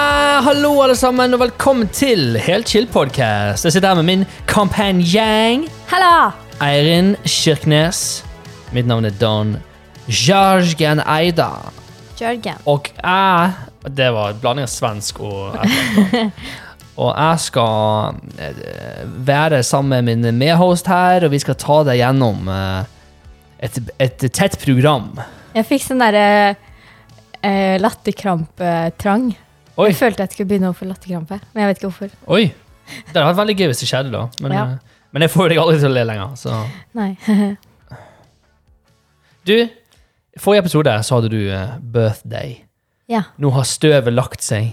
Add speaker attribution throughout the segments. Speaker 1: Hallo, alle sammen, og velkommen til Helt chill podcast. Jeg sitter her med min kompanjong
Speaker 2: Halla!
Speaker 1: Eirin Kirkenes. Mitt navn er Don Jargen Eida.
Speaker 2: Jørgen.
Speaker 1: Og jeg Det var en blanding av svensk og et eller annet. Og jeg skal eh, være sammen med min medhost her, og vi skal ta deg gjennom eh, et, et tett program.
Speaker 2: Jeg fikk sånn derre eh, latterkrampetrang.
Speaker 1: Oi.
Speaker 2: Jeg følte jeg skulle begynne å få latterkrampe, men jeg vet ikke hvorfor.
Speaker 1: Oi! Det hadde vært veldig gøy hvis det skjedde, da. Men,
Speaker 2: Ja.
Speaker 1: eh, men jeg får jo deg aldri til å le lenger. Så.
Speaker 2: Nei.
Speaker 1: Du, i forrige episode så hadde du eh, birthday.
Speaker 2: ja.
Speaker 1: Nå har støvet lagt seg.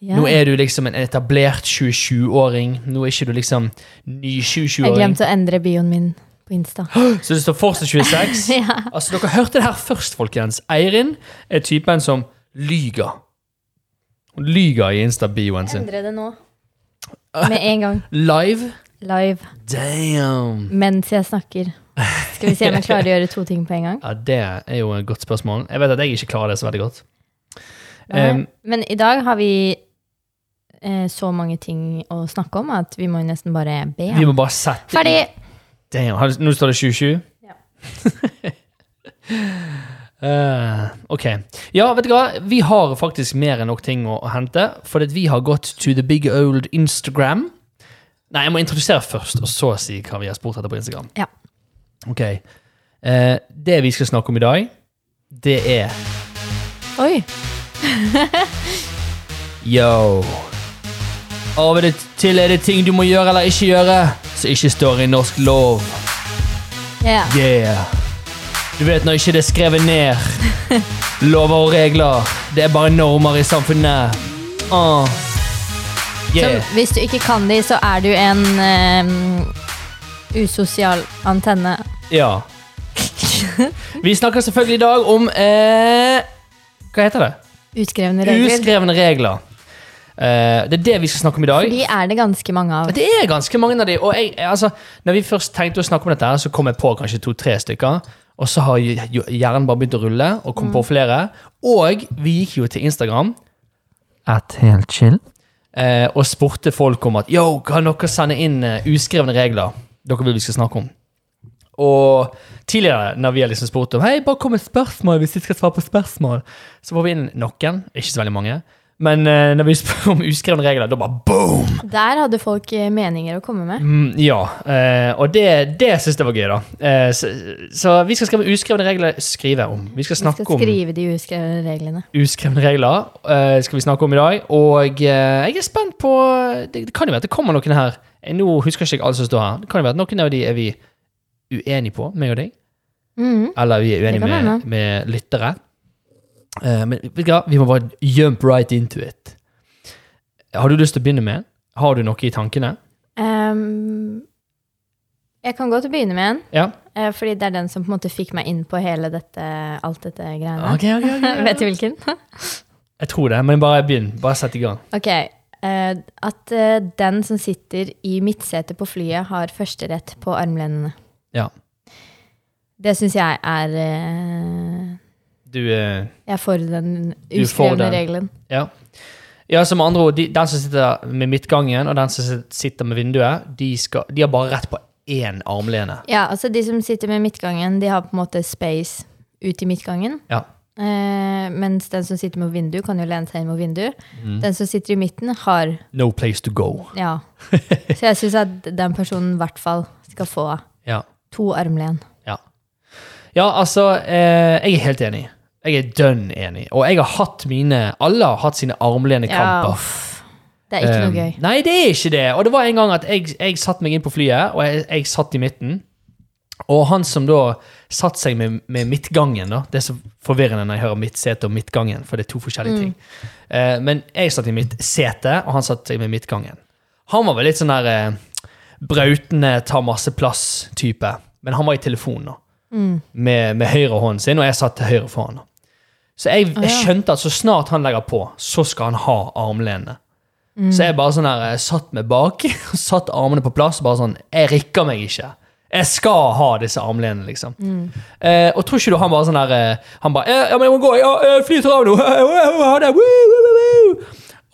Speaker 2: ja.
Speaker 1: Nå er du liksom en etablert 27-åring. Nå er ikke du liksom ny
Speaker 2: jeg
Speaker 1: 27-åring.
Speaker 2: glemte å endre bioen min på Insta.
Speaker 1: Så det står fortsatt 26.
Speaker 2: ja.
Speaker 1: Altså, dere hørte det her først, folkens. Eirin er typen som lyger. Hun lyger i Insta-bioen sin.
Speaker 2: Endre det nå. Med en gang.
Speaker 1: Live.
Speaker 2: Live.
Speaker 1: Damn!
Speaker 2: Mens jeg snakker. Skal vi se om jeg klarer å gjøre to ting på en gang.
Speaker 1: Ja, Det er jo et godt spørsmål. Jeg vet at jeg ikke klarer det så veldig godt. Um,
Speaker 2: Men i dag har vi eh, så mange ting å snakke om at vi må jo nesten bare be.
Speaker 1: Vi må bare sette
Speaker 2: Ferdig!
Speaker 1: Damn, har du- nå står det 27?
Speaker 2: Ja.
Speaker 1: Eh, ok. Ja, vet du hva? Vi har faktisk mer enn nok ting å, å hente, for at vi har gått to the big old Instagram. Nei, jeg må introdusere først, og så si hva vi har spurt etter på Instagram.
Speaker 2: Ja.
Speaker 1: Ok. Eh, det vi skal snakke om i dag, det er
Speaker 2: Oi!
Speaker 1: Yo. Av og til er det ting du må gjøre eller ikke gjøre, som ikke står i norsk lov.
Speaker 2: Ja.
Speaker 1: Yeah. Du vet når ikke det er skrevet ned. Lover og regler. Det er bare normer i samfunnet. Ah. Yeah.
Speaker 2: Så hvis du ikke kan de, så er du en ehm, usosial antenne.
Speaker 1: Ja. Vi snakker selvfølgelig i dag om eh, Hva heter det?
Speaker 2: Uskrevne regler.
Speaker 1: Uskrevne regler. Eh, det er det vi skal snakke om i dag.
Speaker 2: De er det ganske mange av.
Speaker 1: Det er ganske mange av de, og jeg, altså, når vi først tenkte å snakke om dette, her, så kom jeg på kanskje to-tre stykker, og så har jo- jo- hjernen bare begynt å rulle, og kom på flere, og vi gikk jo til Instagram, at helt chill, eh, og spurte folk om at, yo, kan dere sende inn eh, uskrevne regler, dere vil vi skal snakke om? Og tidligere, når vi har liksom spurt om Hei, bare kom med spørsmål hvis jeg skal svare på spørsmål, så får vi inn noen, ikke så veldig mange, men eh, når vi spør om uskrevne regler, da bare boom!
Speaker 2: Der hadde folk eh, meninger å komme med.
Speaker 1: Mm, ja, eh, og det, det syns jeg var gøy, da. Eh, så, så vi skal skrive uskrevne regler skrive om. Vi skal
Speaker 2: Vi
Speaker 1: snakke
Speaker 2: skal skrive de uskrevne reglene.
Speaker 1: om uskrevne regler. eh, skal vi snakke om i dag Og eh, jeg er spent på det, det kan jo være at det kommer noen her. Eh, Nå husker jeg ikke alle som står her. Det kan jo være at Noen av de er vi uenige på, meg og deg.
Speaker 2: Mhm.
Speaker 1: Eller vi er
Speaker 2: Det
Speaker 1: uenige
Speaker 2: kan
Speaker 1: med,
Speaker 2: være.
Speaker 1: med lyttere. Eh, men vet du hva, vi må bare jump right into it. Har du lyst til å begynne med? Har du noe i tankene?
Speaker 2: Ehm, jeg kan godt begynne med en,
Speaker 1: Ja?
Speaker 2: eh, fordi det er den som på en måte fikk meg inn på hele dette, alt dette greiene.
Speaker 1: Ok, ok, ok, ok.
Speaker 2: Vet du hvilken?
Speaker 1: Jeg tror det, men bare begynn. Bare sett i gang.
Speaker 2: Ok, eh, at eh, den som sitter i midtsetet på flyet har førsterett på armlenene.
Speaker 1: Ja.
Speaker 2: Det syns jeg er eh,
Speaker 1: Du eh,
Speaker 2: Jeg er for den
Speaker 1: er for
Speaker 2: uskrevne
Speaker 1: den.
Speaker 2: regelen.
Speaker 1: Ja. Ja, som andre ord, de, den som sitter med midtgangen, og den som sit- sitter med vinduet, de, skal, de har bare rett på én armlene.
Speaker 2: Ja, altså De som sitter med midtgangen, de har på en måte space ut i midtgangen.
Speaker 1: Ja.
Speaker 2: Eh, mens den som sitter med vindu, kan jo lene seg inn mot vindu.
Speaker 1: Mm.
Speaker 2: Den som sitter i midten, har
Speaker 1: No place to go.
Speaker 2: Ja. Så jeg syns at den personen i hvert fall skal få
Speaker 1: Ja.
Speaker 2: to armlen.
Speaker 1: Ja, ja altså, eh, jeg er helt enig. Jeg er dønn enig. Og jeg har hatt mine Alle har hatt sine
Speaker 2: Ja,
Speaker 1: armlenekamper.
Speaker 2: uff. Det er ikke noe
Speaker 1: Eh,
Speaker 2: gøy.
Speaker 1: Nei, det er ikke det. Og det var en gang at jeg, jeg satt meg inn på flyet, og jeg, jeg satt i midten. Og han som da satt seg med, med midtgangen, da. Det er så forvirrende når jeg hører midtsete og midtgangen, for det er to
Speaker 2: Mm.
Speaker 1: forskjellige ting. Eh, men jeg satt i mitt sete, og han satt seg med midtgangen. Han var vel litt sånn der eh, brautende, tar masse plass-type. Men han var i telefonen, da.
Speaker 2: Mm.
Speaker 1: Med, med høyre hånden sin, og jeg satt til høyre for han. da. Så jeg, jeg
Speaker 2: ja.
Speaker 1: skjønte at så snart han legger på, så skal han ha armlenene.
Speaker 2: Mm.
Speaker 1: Så jeg bare sånn her, eh, satt meg bak, satt armene på plass, bare sånn, jeg rikker meg ikke. Jeg skal ha disse armlenene, liksom.
Speaker 2: Mm.
Speaker 1: Eh, og tror ikke du han bare sånn her, eh, han bare, eh, ja, men jeg må gå, ja, eh, flyet tar av nå. Eh, eh, eh, ha det. Woo, woo, woo, woo.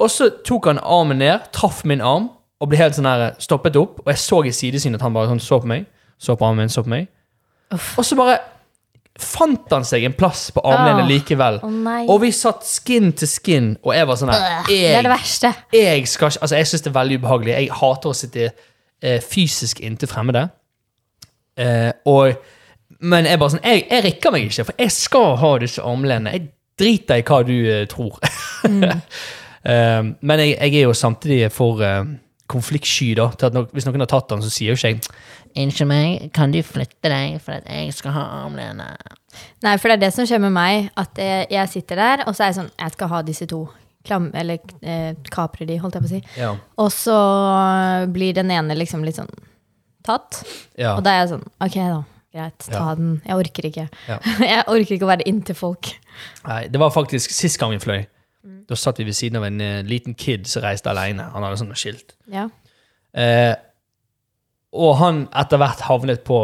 Speaker 1: Og så tok han armen ned, traff min arm, og ble helt sånn her, stoppet opp. Og jeg så i sidesynet at han bare sånn så på meg. Så på armen min, så på meg.
Speaker 2: Uff.
Speaker 1: Og så bare fant han seg en plass på armlenet
Speaker 2: Åh.
Speaker 1: likevel.
Speaker 2: Å nei.
Speaker 1: Og vi satt skin til skin, og jeg var sånn her
Speaker 2: Det er det
Speaker 1: Jeg,
Speaker 2: verste.
Speaker 1: jeg skal ikke Altså, jeg syns det er veldig ubehagelig. Jeg hater å sitte eh, fysisk inntil fremmede. Eh, og Men jeg bare sånn jeg, jeg rekker meg ikke, for jeg skal ha disse armlenene. Jeg driter i hva du eh, tror. Eh, men jeg, jeg er jo samtidig for eh, konfliktsky, da. Til at no hvis noen har tatt den, så sier jo ikke jeg
Speaker 3: Unnskyld meg, kan du flytte deg for at jeg skal ha armlene?
Speaker 2: Nei, for det er det som skjer med meg, at jeg, jeg sitter der, og så er jeg sånn Jeg skal ha disse to. Klam, eller eh, kaprer de, holdt jeg på å si.
Speaker 1: Ja.
Speaker 2: Og så blir den ene liksom litt sånn tatt.
Speaker 1: ja.
Speaker 2: Og da er jeg sånn Ok, da. Greit, ta
Speaker 1: Ja.
Speaker 2: den. Jeg orker ikke.
Speaker 1: Ja.
Speaker 2: jeg orker ikke å være inntil folk.
Speaker 1: Nei, det var faktisk sist gang vi fløy. Da satt vi ved siden av en eh, liten kid som reiste alene. Han hadde sånne skilt.
Speaker 2: Ja.
Speaker 1: Eh, og han etter hvert havnet på,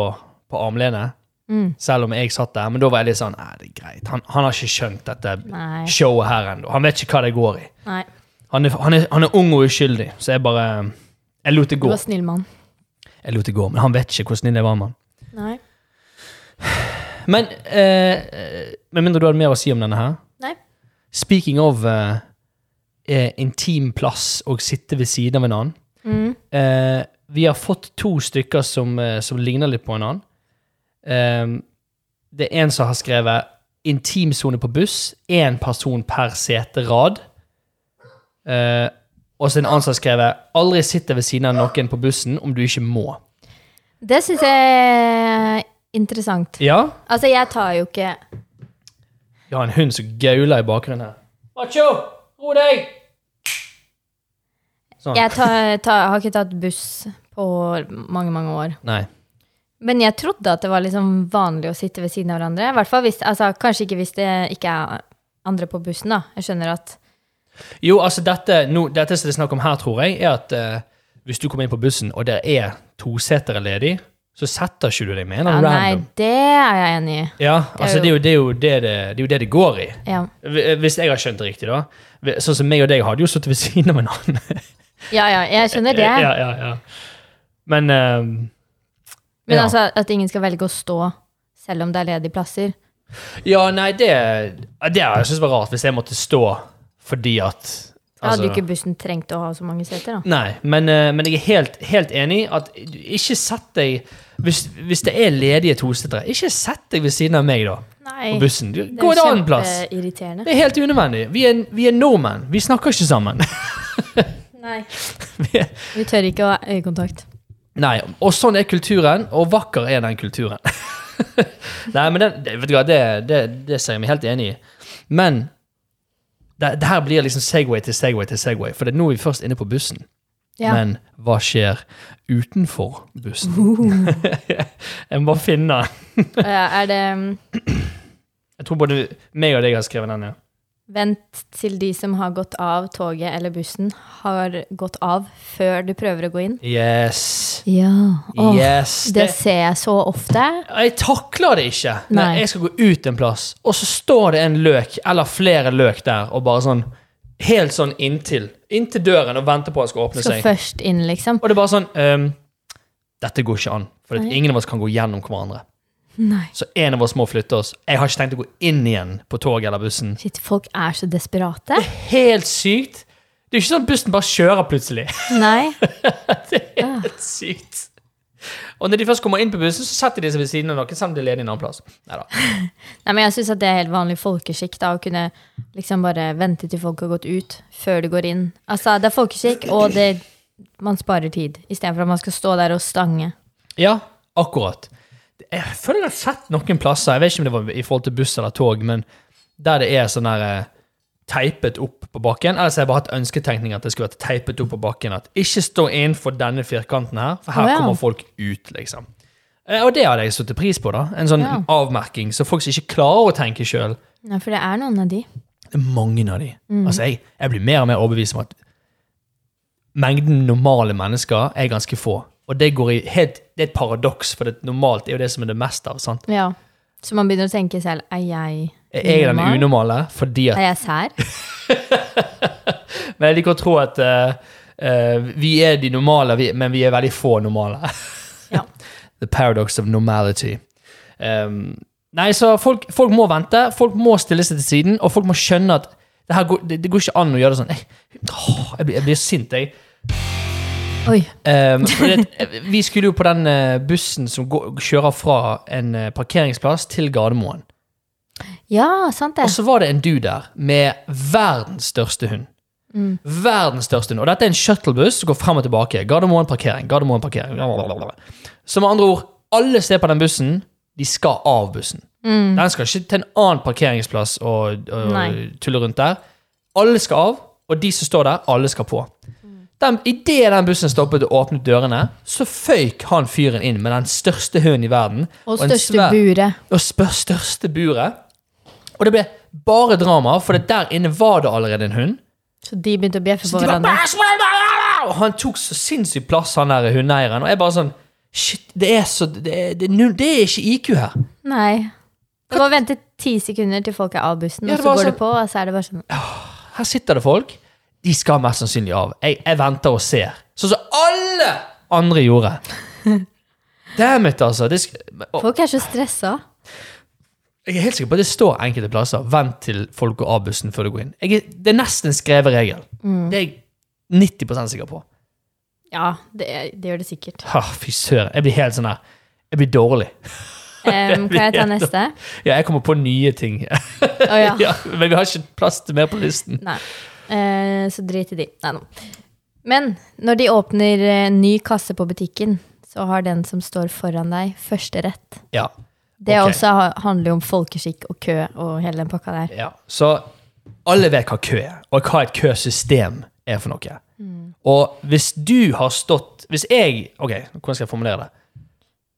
Speaker 1: på armlenet,
Speaker 2: Mm.
Speaker 1: selv om jeg satt der. Men da var jeg litt sånn Nei, det er greit. Han, han har ikke skjønt dette
Speaker 2: Nei.
Speaker 1: showet her ennå. Han vet ikke hva det går i.
Speaker 2: Nei.
Speaker 1: Han er, han, er, han er ung og uskyldig, så jeg bare Jeg lot det
Speaker 2: Du
Speaker 1: gå.
Speaker 2: var snill mann.
Speaker 1: Jeg lot det gå, Men han vet ikke hvor snill jeg var med han.
Speaker 2: Nei.
Speaker 1: Men eh, eh, med mindre du hadde mer å si om denne her
Speaker 2: Nei.
Speaker 1: Speaking of eh, eh, intim plass og sitte ved siden av en annen.
Speaker 2: Mm.
Speaker 1: Eh, vi har fått to stykker som, eh, som ligner litt på en annen. Eh, det er en som har skrevet 'intimsone på buss', én person per seterad. Eh, og så en annen som har skrevet 'aldri sitte ved siden av noen på bussen om du ikke må'.
Speaker 2: Det syns jeg er interessant.
Speaker 1: Ja,
Speaker 2: Altså, jeg tar jo ikke
Speaker 1: vi har en hund som gauler i bakgrunnen her. Macho, ro deg! Sånn.
Speaker 2: Jeg tar, tar, har ikke tatt buss på mange, mange år.
Speaker 1: Nei.
Speaker 2: Men jeg trodde at det var liksom vanlig å sitte ved siden av hverandre. I hvert fall hvis, altså, Kanskje ikke hvis det ikke er andre på bussen, da. Jeg skjønner at
Speaker 1: Jo, altså dette, nå- dette som det er snakk om her, tror jeg, er at eh, hvis du kommer inn på bussen, og der er tosetere ledig, så setter ikke du deg med en
Speaker 2: ja,
Speaker 1: eller annen
Speaker 2: Ah, Nei,
Speaker 1: random.
Speaker 2: det er jeg enig i.
Speaker 1: Ja, altså det er, jo, det, er jo det, det, det er jo det det går i.
Speaker 2: Ja,
Speaker 1: Hvi- Hvis jeg har skjønt det riktig, da. Hvi- Sånn som meg og deg hadde jo sittet ved siden av en annen.
Speaker 2: ja, ja jeg skjønner det.
Speaker 1: Eh, Ja, ja, ja. Men eh,
Speaker 2: Men
Speaker 1: ja.
Speaker 2: altså at ingen skal velge å stå selv om det er ledige plasser.
Speaker 1: Ja, nei, det Det jeg synes var rart, hvis jeg måtte stå fordi at
Speaker 2: Da hadde jo
Speaker 1: altså-
Speaker 2: ikke bussen trengt å ha så mange seter, da.
Speaker 1: Nei, men, eh, men jeg er helt, helt enig i at du- ikke sett deg hvis, hvis det er ledige tosetere, ikke sett deg ved siden av meg da,
Speaker 2: Nei.
Speaker 1: på bussen. Du,
Speaker 2: Eh, Det
Speaker 1: gå
Speaker 2: er
Speaker 1: en annen plass.
Speaker 2: kjempeirriterende.
Speaker 1: Det er helt unødvendig. Vi er, vi er nordmenn. Vi snakker ikke sammen.
Speaker 2: Nei.
Speaker 1: Vi er-
Speaker 2: Vi tør ikke å ha øyekontakt.
Speaker 1: Nei, og sånn er kulturen, og vakker er den kulturen. Nei, men den, det- vet du hva, det, det, det ser jeg meg helt enig i. Men det, det her blir liksom segway til segway til segway, for det er nå vi først er inne på bussen.
Speaker 2: Ja.
Speaker 1: Men hva skjer utenfor bussen?
Speaker 2: Uh.
Speaker 1: jeg må bare finne den.
Speaker 2: Eh, Er det mm,
Speaker 1: Jeg tror både meg og deg har skrevet den. ja.
Speaker 2: Vent til de som har gått av toget eller bussen, har gått av før du prøver å gå inn.
Speaker 1: Yes.
Speaker 2: Ja.
Speaker 1: yes. Det,
Speaker 2: Det ser jeg så ofte.
Speaker 1: jeg takler det ikke. Nei.
Speaker 2: Nei.
Speaker 1: Jeg skal gå ut en plass, og så står det en løk, eller flere løk der, og bare sånn Helt sånn inntil. Inntil døren og venter på at den skal åpne
Speaker 2: Skal
Speaker 1: seg.
Speaker 2: først inn, liksom.
Speaker 1: Og det er bare sånn ehm, Dette går ikke an. For at
Speaker 2: Nei.
Speaker 1: ingen av oss kan gå gjennom hverandre.
Speaker 2: Nei.
Speaker 1: Så en av oss må flytte oss. Jeg har ikke tenkt å gå inn igjen på toget eller bussen.
Speaker 2: Shit, folk er så desperate.
Speaker 1: helt sykt. Det er jo ikke sånn at bussen bare kjører plutselig.
Speaker 2: Nei.
Speaker 1: Helt sykt. Og når de først kommer inn på bussen, så setter de seg ved siden av noen, selv om de er ledige en annen plass. Neida.
Speaker 2: Nei, men jeg syns det er helt vanlig folkeskikk da, å kunne liksom bare vente til folk har gått ut, før du går inn. Altså, det er folkeskikk, og det, man sparer tid, istedenfor at man skal stå der og stange.
Speaker 1: Ja, akkurat. Jeg føler jeg har sett noen plasser, jeg vet ikke om det var i forhold til buss eller tog, men der det er sånn der eh, teipet opp på bakken, eller så har jeg bare hatt ønsketenkning at det skulle vært teipet opp på bakken, at ikke stå innenfor denne firkanten her, for her
Speaker 2: Å, ja.
Speaker 1: kommer folk ut, liksom. Eh, Og det hadde jeg satt pris på, da. En sånn
Speaker 2: Ja.
Speaker 1: avmerking, så folk som ikke klarer å tenke sjøl,
Speaker 2: Nei, for det er noen av de.
Speaker 1: Det er mange av de. Altså, jeg, jeg blir mer og mer overbevist om at mengden normale mennesker er ganske få. Og det, går i helt, det er et paradoks, for det normalt er jo det som er det meste av. sant?
Speaker 2: Ja. Så man begynner å tenke selv er jeg
Speaker 1: Jeg er den unormale fordi at
Speaker 2: Er jeg sær?
Speaker 1: Men jeg liker å tro at eh, eh, vi er de normale, vi, men vi er veldig få normale.
Speaker 2: Ja.
Speaker 1: The paradox of normality. Um, nei, så folk, folk må vente, folk må stille seg til siden, og folk må skjønne at det, her går, det, det går ikke an å gjøre det sånn. Jeg, åh, jeg, blir, jeg blir sint, jeg.
Speaker 2: Oi.
Speaker 1: Um, for det, vi skulle jo på den eh, bussen som går, kjører fra en eh, parkeringsplass til Gardermoen.
Speaker 2: Ja, sant det.
Speaker 1: Og så var det en dude der med verdens største hund.
Speaker 2: Mm.
Speaker 1: Verdens største hund. Og dette er en shuttlebuss som går frem og tilbake. Gardermoen parkering, Gardermoen parkering. blablabla. Så med andre ord, alle som er på den bussen, de skal av bussen.
Speaker 2: Mm.
Speaker 1: Den skal ikke til en annen parkeringsplass og, og
Speaker 2: Nei.
Speaker 1: tulle rundt der. Alle skal av, og de som står der, alle skal på. Den, Idet den bussen stoppet og åpnet dørene, så føyk han fyren inn med den største hunden i verden.
Speaker 2: Og
Speaker 1: en
Speaker 2: største
Speaker 1: svær-
Speaker 2: buret.
Speaker 1: og spør største buret. Og det ble bare drama, for det der inne var det allerede en hund.
Speaker 2: Så de begynte å bjeffe
Speaker 1: Så
Speaker 2: på
Speaker 1: de bare,
Speaker 2: hverandre.
Speaker 1: "Bæsj, bæsj, bæsj!" og han tok så sinnssykt plass, han der hundeeieren. Og jeg bare sånn Shit, det er så Det er, det er, null- det er ikke IQ her.
Speaker 2: Nei. Det var å vente ti sekunder til folk er av bussen,
Speaker 1: Ja,
Speaker 2: og
Speaker 1: det
Speaker 2: så
Speaker 1: var
Speaker 2: går
Speaker 1: sånn-
Speaker 2: det på, og så er det bare sånn
Speaker 1: Her sitter det folk. De skal mest sannsynlig av. Jeg, jeg venter og ser. Sånn som alle andre gjorde. Damn it, altså. Det, sk- og
Speaker 2: Folk er så stressa.
Speaker 1: jeg er helt sikker på at det står enkelte plasser. Vent til folk går av bussen før du går inn. Jeg, er- det er nesten en skrevet regel. Det er jeg 90 sikker på.
Speaker 2: Ja, det, er- det gjør det sikkert.
Speaker 1: Ha, fy søren. Jeg blir helt sånn her Jeg blir dårlig.
Speaker 2: Em, kan jeg ta neste?
Speaker 1: Ja, jeg kommer på nye ting.
Speaker 2: Å ja.
Speaker 1: ja, men vi har ikke plass til mer på listen.
Speaker 2: Nei. Eh, så drit i de. Nei nå. Men når de åpner eh, ny kasse på butikken, så har den som står foran deg, førsterett.
Speaker 1: Ja,
Speaker 2: Det
Speaker 1: Ok.
Speaker 2: også ha- handler jo om folkeskikk og kø og hele den pakka der.
Speaker 1: ja. Så alle vet hva kø er, og hva et køsystem er for noe. Og hvis du har stått Hvis jeg Ok, hvordan skal jeg formulere det?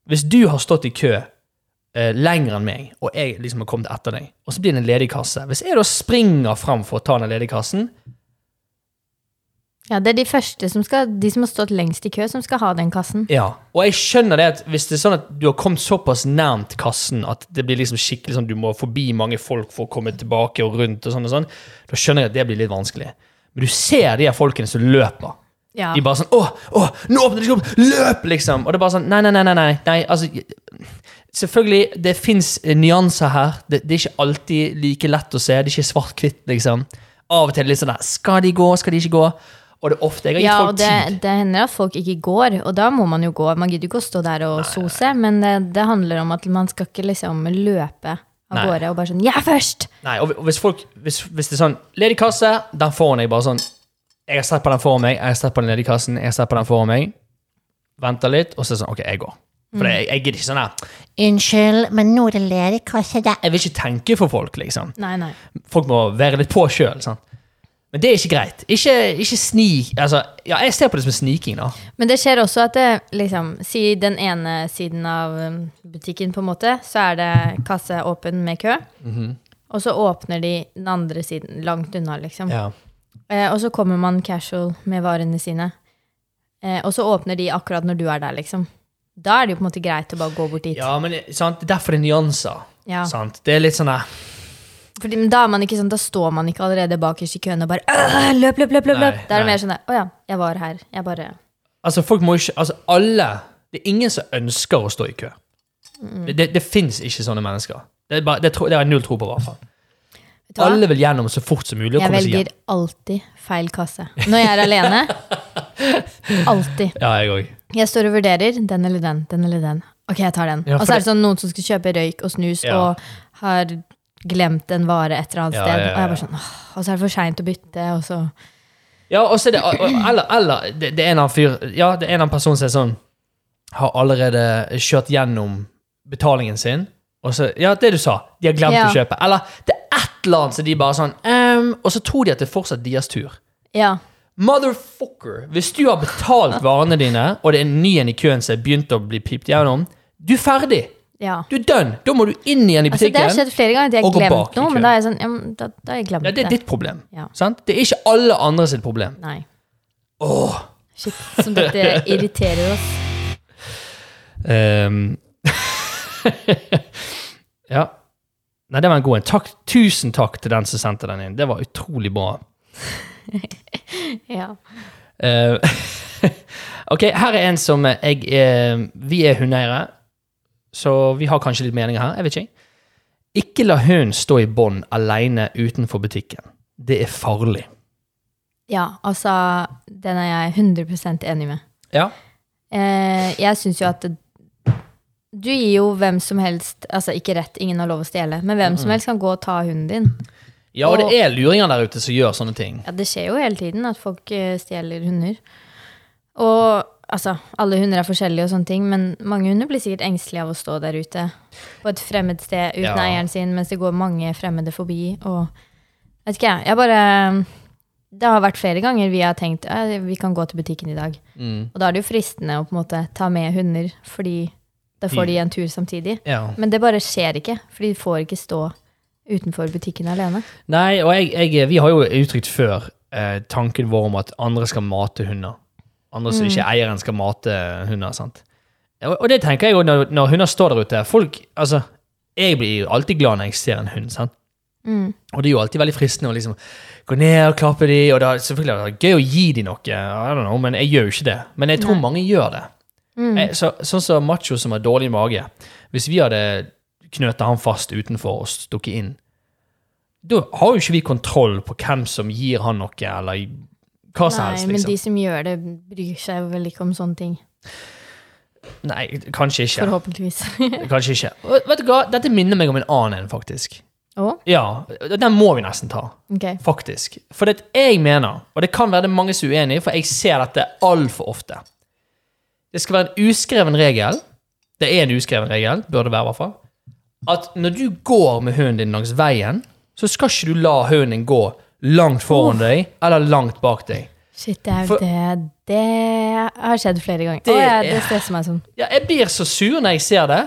Speaker 1: Hvis du har stått i kø eh, lenger enn meg, og jeg liksom har kommet etter deg, og så blir det en ledig kasse Hvis jeg da springer fram for å ta den ledige kassen,
Speaker 2: Ja, Det er de første som skal, de som har stått lengst i kø, som skal ha den kassen.
Speaker 1: Ja, og jeg skjønner det at hvis det er sånn at du har kommet såpass nærmt kassen at det blir liksom skikkelig sånn du må forbi mange folk for å komme tilbake og rundt og sånn og sånn, da skjønner jeg at det blir litt vanskelig. Men du ser de her folkene som løper.
Speaker 2: Ja.
Speaker 1: De bare sånn åh, åh, nå åpner det seg opp! Løp!' liksom. Og det er bare sånn Nei, nei, nei, nei. nei, nei altså, selvfølgelig, det fins nyanser her. Det, det er ikke alltid like lett å se. Det er ikke svart-hvitt, liksom. Av og til litt sånn der 'Skal de gå? Skal de ikke gå?' Og det er ofte Jeg har gitt
Speaker 2: Ja, og
Speaker 1: folk tid.
Speaker 2: det, det hender at folk ikke går, og da må man jo gå. Man gidder jo ikke å stå der og sose, men det, det handler om at man skal ikke liksom løpe av
Speaker 1: Nei.
Speaker 2: gårde og bare sånn 'Jeg er først!'
Speaker 1: Nei, og hvis folk Hvis, hvis det er sånn Ledig kasse, den får jeg bare sånn Jeg har sett på den foran meg, jeg har sett på den ledige kassen, jeg har sett på den foran meg. Venter litt, og så er det sånn OK, jeg går. For det- jeg, jeg gidder ikke sånn her
Speaker 3: Unnskyld, men nå er det ledig kasse der.
Speaker 1: Jeg vil ikke tenke for folk, liksom.
Speaker 2: Nei, nei.
Speaker 1: Folk må være litt på sjøl. sant? Men det er ikke greit. Ikke, ikke snik Altså, ja, jeg ser på det som sniking, da.
Speaker 2: Men det skjer også at det, liksom, si den ene siden av um, butikken, på en måte, så er det kasse åpen med kø.
Speaker 1: Mhm.
Speaker 2: Og så åpner de den andre siden, langt unna, liksom.
Speaker 1: Ja.
Speaker 2: Eh, og så kommer man casual med varene sine. Eh, og så åpner de akkurat når du er der, liksom. Da er det jo på en måte greit å bare gå bort dit.
Speaker 1: ja, men sant? det er derfor det er nyanser.
Speaker 2: Ja.
Speaker 1: Sant? Det er litt sånn der
Speaker 2: Fordi, men da er man ikke sånn, da står man ikke allerede bakerst i køen og bare «Åh, løp, løp, løp, løp,
Speaker 1: Nei,
Speaker 2: løp. Da er det
Speaker 1: nei.
Speaker 2: mer sånn der, å ja, jeg var her. Jeg bare
Speaker 1: Altså, folk må ikke Altså, alle Det er ingen som ønsker å stå i kø.
Speaker 2: Mm.
Speaker 1: Det, det, det fins ikke sånne mennesker. Det, er bare, det, tror- det har jeg null tro på, i hvert fall.
Speaker 2: vet du hva?
Speaker 1: Alle vil gjennom så fort som mulig. og
Speaker 2: Jeg
Speaker 1: komme seg hjem.
Speaker 2: velger alltid feil kasse. Når jeg er alene. Alltid.
Speaker 1: Ja, jeg òg.
Speaker 2: Jeg står og vurderer den eller den, den eller den. Ok, jeg tar den.
Speaker 1: Ja, for
Speaker 2: og så er
Speaker 1: det-
Speaker 2: det sånn noen som skal kjøpe røyk og snus
Speaker 1: Ja.
Speaker 2: og har glemt en vare et eller annet
Speaker 1: Ja, ja,
Speaker 2: sted.
Speaker 1: ja,
Speaker 2: Og jeg
Speaker 1: ja.
Speaker 2: bare sånn, åh, og så er det for seint å bytte, og så
Speaker 1: Ja, og så er det og- og- Eller, eller det, det er en eller annen fyr Ja, det er en eller annen person som er sånn Har allerede kjørt gjennom betalingen sin, og så Ja, det du sa. De har glemt
Speaker 2: Ja.
Speaker 1: å kjøpe. Eller det er et eller annet som de bare sånn ehm, Og så tror de at det er fortsatt deres tur.
Speaker 2: Ja.
Speaker 1: Motherfucker! Hvis du har betalt varene dine, og det er en ny en i køen som er begynt å bli pipt gjennom, du er ferdig!
Speaker 2: ja.
Speaker 1: Du er done! Da må du inn igjen i
Speaker 2: Altså, det
Speaker 1: butikken.
Speaker 2: har skjedd flere ganger at jeg
Speaker 1: og
Speaker 2: har
Speaker 1: gå bak
Speaker 2: glemt
Speaker 1: i
Speaker 2: noe,
Speaker 1: køen.
Speaker 2: men da er jeg sånn, ja, men da, da har jeg glemt
Speaker 1: ja, det er ditt problem.
Speaker 2: Ja.
Speaker 1: Sant? Det er ikke alle andre sitt problem.
Speaker 2: Nei.
Speaker 1: Åh.
Speaker 2: Shit, som dette irriterer oss.
Speaker 1: Ehm. ja. Nei, det var en god en. Takk, tusen takk til den som sendte den inn. Det var utrolig bra.
Speaker 2: Ja.
Speaker 1: Eh, ok, her er en som jeg eh, Vi er hundeeiere, så vi har kanskje litt meninger her. Jeg vet ikke. Ikke la hunden stå i bånd alene utenfor butikken. Det er farlig.
Speaker 2: ja, altså, den er jeg 100 enig med.
Speaker 1: Ja.
Speaker 2: Eh, jeg syns jo at det, du gir jo hvem som helst Altså ikke rett, ingen har lov å stjele, men hvem som helst kan gå og ta hunden din.
Speaker 1: ja, og det er luringer der ute som gjør sånne ting.
Speaker 2: Ja, det skjer jo hele tiden at folk eh, stjeler hunder. Og altså, alle hunder er forskjellige og sånne ting, men mange hunder blir sikkert engstelige av å stå der ute på et fremmed sted uten
Speaker 1: Ja.
Speaker 2: eieren sin, mens det går mange fremmede forbi og Vet ikke, jeg. Jeg bare Det har vært flere ganger vi har tenkt eh, vi kan gå til butikken i dag.
Speaker 1: Mm.
Speaker 2: Og da er det jo fristende å på en måte ta med hunder, fordi da får
Speaker 1: Mm.
Speaker 2: de en tur samtidig.
Speaker 1: Ja.
Speaker 2: Men det bare skjer ikke, for de får ikke stå utenfor butikken alene.
Speaker 1: Nei, og jeg, jeg, vi har jo uttrykt før eh, tanken vår om at andre skal mate hunder. Andre som ikke er eieren skal mate hunder. sant? Og, og det tenker jeg jo når, når hunder står der ute. Folk, altså, Jeg blir jo alltid glad når jeg ser en hund. sant?
Speaker 2: Mm.
Speaker 1: Og det er jo alltid veldig fristende å liksom gå ned og klappe de, og da, selvfølgelig er det gøy å gi de noe, I don't know, men jeg gjør jo ikke det. Men jeg tror mange gjør det.
Speaker 2: Mm.
Speaker 1: Jeg, så, sånn som macho som har dårlig mage. Hvis vi hadde knøta han fast utenfor og stukket inn, da har jo ikke vi kontroll på hvem som gir han noe, eller hva som
Speaker 2: Nei,
Speaker 1: helst,
Speaker 2: men
Speaker 1: liksom.
Speaker 2: de som gjør det, bryr seg vel ikke om sånne ting.
Speaker 1: Nei, kanskje ikke.
Speaker 2: Forhåpentligvis.
Speaker 1: Kanskje ikke. Og, vet du hva, dette minner meg om en annen en, faktisk.
Speaker 2: Å,
Speaker 1: Ja, den må vi nesten ta.
Speaker 2: ok.
Speaker 1: Faktisk. For det jeg mener, og det kan være det er mange som er uenige i, for jeg ser dette altfor ofte. Det skal være en uskreven regel, det er en uskreven regel, bør det være i hvert fall, at når du går med hunden din langs veien, så skal ikke du la hunden din gå langt foran deg, eller langt bak deg.
Speaker 2: Shit, det, er,
Speaker 1: For-
Speaker 2: det, det har skjedd flere ganger.
Speaker 1: Det
Speaker 2: Det, ja, det
Speaker 1: er-
Speaker 2: stresser meg sånn.
Speaker 1: Ja, jeg blir så sur når jeg ser det,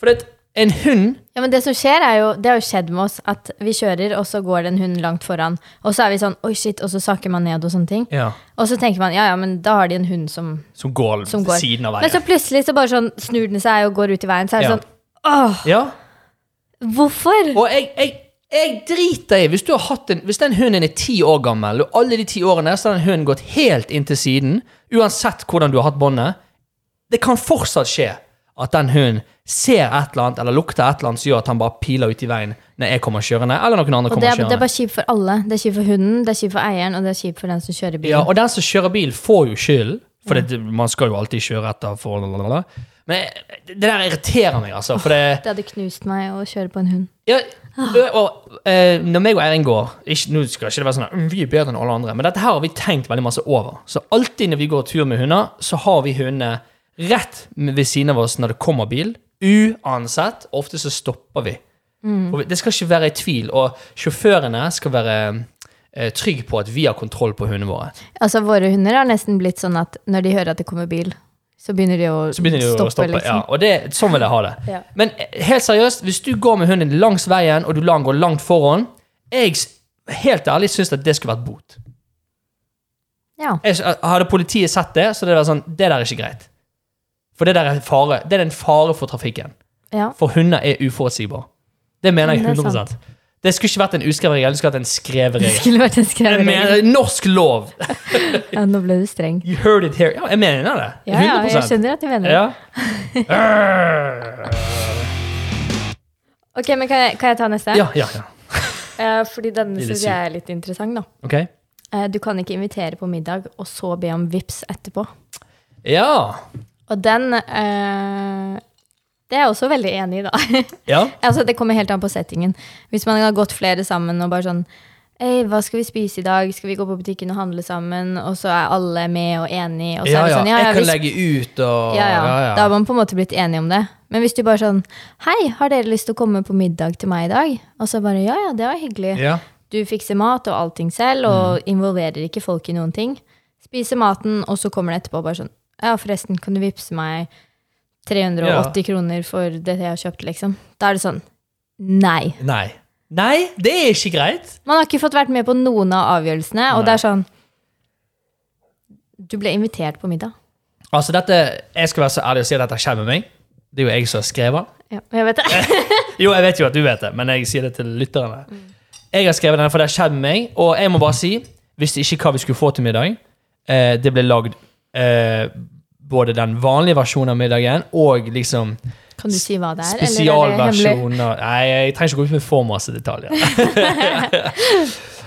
Speaker 1: for det at en hund
Speaker 2: Ja, men det som skjer er jo, det har jo skjedd med oss, at vi kjører, og så går det en hund langt foran, og så er vi sånn, oi shit, og så sakker man ned og sånne ting.
Speaker 1: ja,
Speaker 2: Og så tenker man, ja, ja, men da har de en hund som
Speaker 1: som går
Speaker 2: som går.
Speaker 1: siden av
Speaker 2: Men så
Speaker 1: veien.
Speaker 2: plutselig så bare sånn snur den seg og går ut i veien. Så er det
Speaker 1: Ja.
Speaker 2: sånn Åh,
Speaker 1: Ja,
Speaker 2: hvorfor?
Speaker 1: Og jeg, jeg, jeg driter i hvis, du har hatt en, hvis den hunden er ti år gammel, og alle de ti årene så har den hunden gått helt inn til siden, uansett hvordan du har hatt båndet. Det kan fortsatt skje at den hunden ser et eller annet, eller lukter et eller annet som gjør at han bare piler ut i veien når jeg kommer kjørende, eller noen andre
Speaker 2: Og det
Speaker 1: kommer
Speaker 2: er, det er
Speaker 1: kjørende.
Speaker 2: bare kjipt for alle. Det er kjipt for hunden, det er kjipt for eieren, og det er kjipt for den som kjører
Speaker 1: Ja,
Speaker 2: bilen.
Speaker 1: og den som kjører bil, får jo skylden, for det, man skal jo alltid kjøre etter forholdene. Men det der irriterer meg, altså. For det,
Speaker 2: Det hadde knust meg å kjøre på en hund.
Speaker 1: Ja, og, og, eh, når meg og Eirin går ikke, Nå skal ikke det være sånn at «Mm, vi er bedre enn alle andre, men dette her har vi tenkt veldig masse over. Så alltid når vi går tur med hunder, så har vi hundene rett ved siden av oss når det kommer bil. Uansett. Ofte så stopper vi. Og vi- det skal ikke være i tvil. Og sjåførene skal være eh, trygge på at vi har kontroll på hundene våre.
Speaker 2: Altså, våre hunder har nesten blitt sånn at når de hører at det kommer bil, så begynner de å
Speaker 1: Så begynner de
Speaker 2: stoppe,
Speaker 1: å stoppe. Ja,
Speaker 2: liksom.
Speaker 1: og det, sånn vil jeg ha det.
Speaker 2: Ja.
Speaker 1: Men eh, helt seriøst, hvis du går med hunden din langs veien, og du lar den gå langt foran, jeg s- helt ærlig syns at det skulle vært bot.
Speaker 2: Ja.
Speaker 1: Jeg, s- hadde politiet sett det, så det var sånn, det der er ikke greit. For det der er en fare. Det er en fare for trafikken.
Speaker 2: ja.
Speaker 1: For hunder er uforutsigbare. Det mener jeg
Speaker 2: Det er
Speaker 1: 100
Speaker 2: sant.
Speaker 1: Det skulle ikke vært en uskrevet regel, det skulle vært en skrevet
Speaker 2: Det
Speaker 1: regel.
Speaker 2: skulle vært en
Speaker 1: Jeg
Speaker 2: skrevet
Speaker 1: mener, norsk lov!
Speaker 2: ja, Nå ble du streng.
Speaker 1: You heard it here. Ja, jeg mener det.
Speaker 2: Ja, ja, jeg
Speaker 1: 100
Speaker 2: skjønner at du mener det.
Speaker 1: Ja.
Speaker 2: Ok, men kan jeg, kan jeg ta neste?
Speaker 1: ja, ja, ja.
Speaker 2: Eh, fordi denne
Speaker 1: Lille
Speaker 2: syns
Speaker 1: Siv.
Speaker 2: jeg er litt interessant, da.
Speaker 1: Ok.
Speaker 2: Eh, du kan ikke invitere på middag og så be om vips etterpå.
Speaker 1: Ja.
Speaker 2: Og den eh, Det er jeg også veldig enig i, da.
Speaker 1: Ja.
Speaker 2: altså, det kommer helt an på settingen. Hvis man har gått flere sammen og bare sånn Ei, hva skal vi spise i dag? Skal vi gå på butikken og handle sammen? Og så er alle med og enig, og
Speaker 1: ja,
Speaker 2: så er det
Speaker 1: ja.
Speaker 2: sånn ja ja,
Speaker 1: jeg kan
Speaker 2: vi
Speaker 1: legge ut og
Speaker 2: ja, ja. Da har man på en måte blitt enig om det. Men hvis du bare sånn Hei, har dere lyst til å komme på middag til meg i dag? Og så bare Ja ja, det var hyggelig.
Speaker 1: Ja.
Speaker 2: Du fikser mat og allting selv, og involverer ikke folk i noen ting. Spiser maten, og så kommer det etterpå bare sånn Ja, forresten, kan du vippse meg 380 kroner for det jeg har kjøpt, liksom? Da er det sånn Nei.
Speaker 1: Nei. Nei, det er ikke greit.
Speaker 2: Man har ikke fått vært med på noen av avgjørelsene, og det er sånn Du ble invitert på middag.
Speaker 1: Altså, dette, Jeg skal være så ærlig og si at dette har skjedd med meg. Det er jo jeg som har skrevet. den.
Speaker 2: Ja, jeg vet det.
Speaker 1: Jo, jeg
Speaker 2: Mm.
Speaker 1: vet jo at du vet det, men jeg sier det til lytterne. Jeg har skrevet denne, for det har skjedd med meg, og jeg må bare si visste ikke hva vi skulle få til middag. Eh, det ble lagd eh, både den vanlige versjonen av middagen og liksom
Speaker 2: Kan du si hva det er? eller er det hemmelig?
Speaker 1: spesialversjoner. Nei, jeg trenger ikke gå ut med for masse detaljer.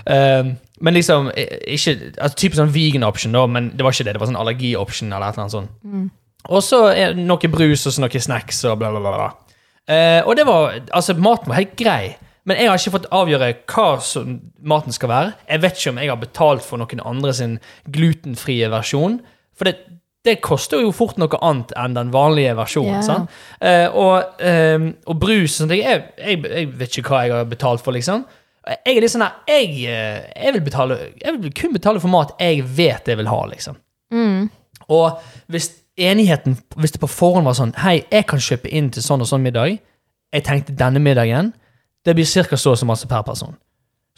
Speaker 1: Eh, men liksom eh, ikke, altså, Typisk sånn vegan option, da, men det var ikke det. Det var sånn allergi option eller et eller annet sånn. sånt.
Speaker 2: Mm.
Speaker 1: Og så er det noe brus og så noe snacks og bla, bla, bla. bla. Eh, og det var, altså, maten var helt grei. Men jeg har ikke fått avgjøre hva som maten skal være. Jeg vet ikke om jeg har betalt for noen andre sin glutenfrie versjon. For det, det koster jo fort noe annet enn den vanlige versjonen.
Speaker 2: Ja.
Speaker 1: sant? Eh, og, eh, og brus og sånne ting jeg, jeg, jeg vet ikke hva jeg har betalt for, liksom. Jeg er litt sånn her, jeg, eh, jeg, vil betale, jeg vil kun betale for mat jeg vet jeg vil ha, liksom.
Speaker 2: Mm.
Speaker 1: Og hvis enigheten, hvis det på forhånd var sånn Hei, jeg kan kjøpe inn til sånn og sånn middag. Jeg tenkte denne middagen. Det blir ca. så og så masse per person.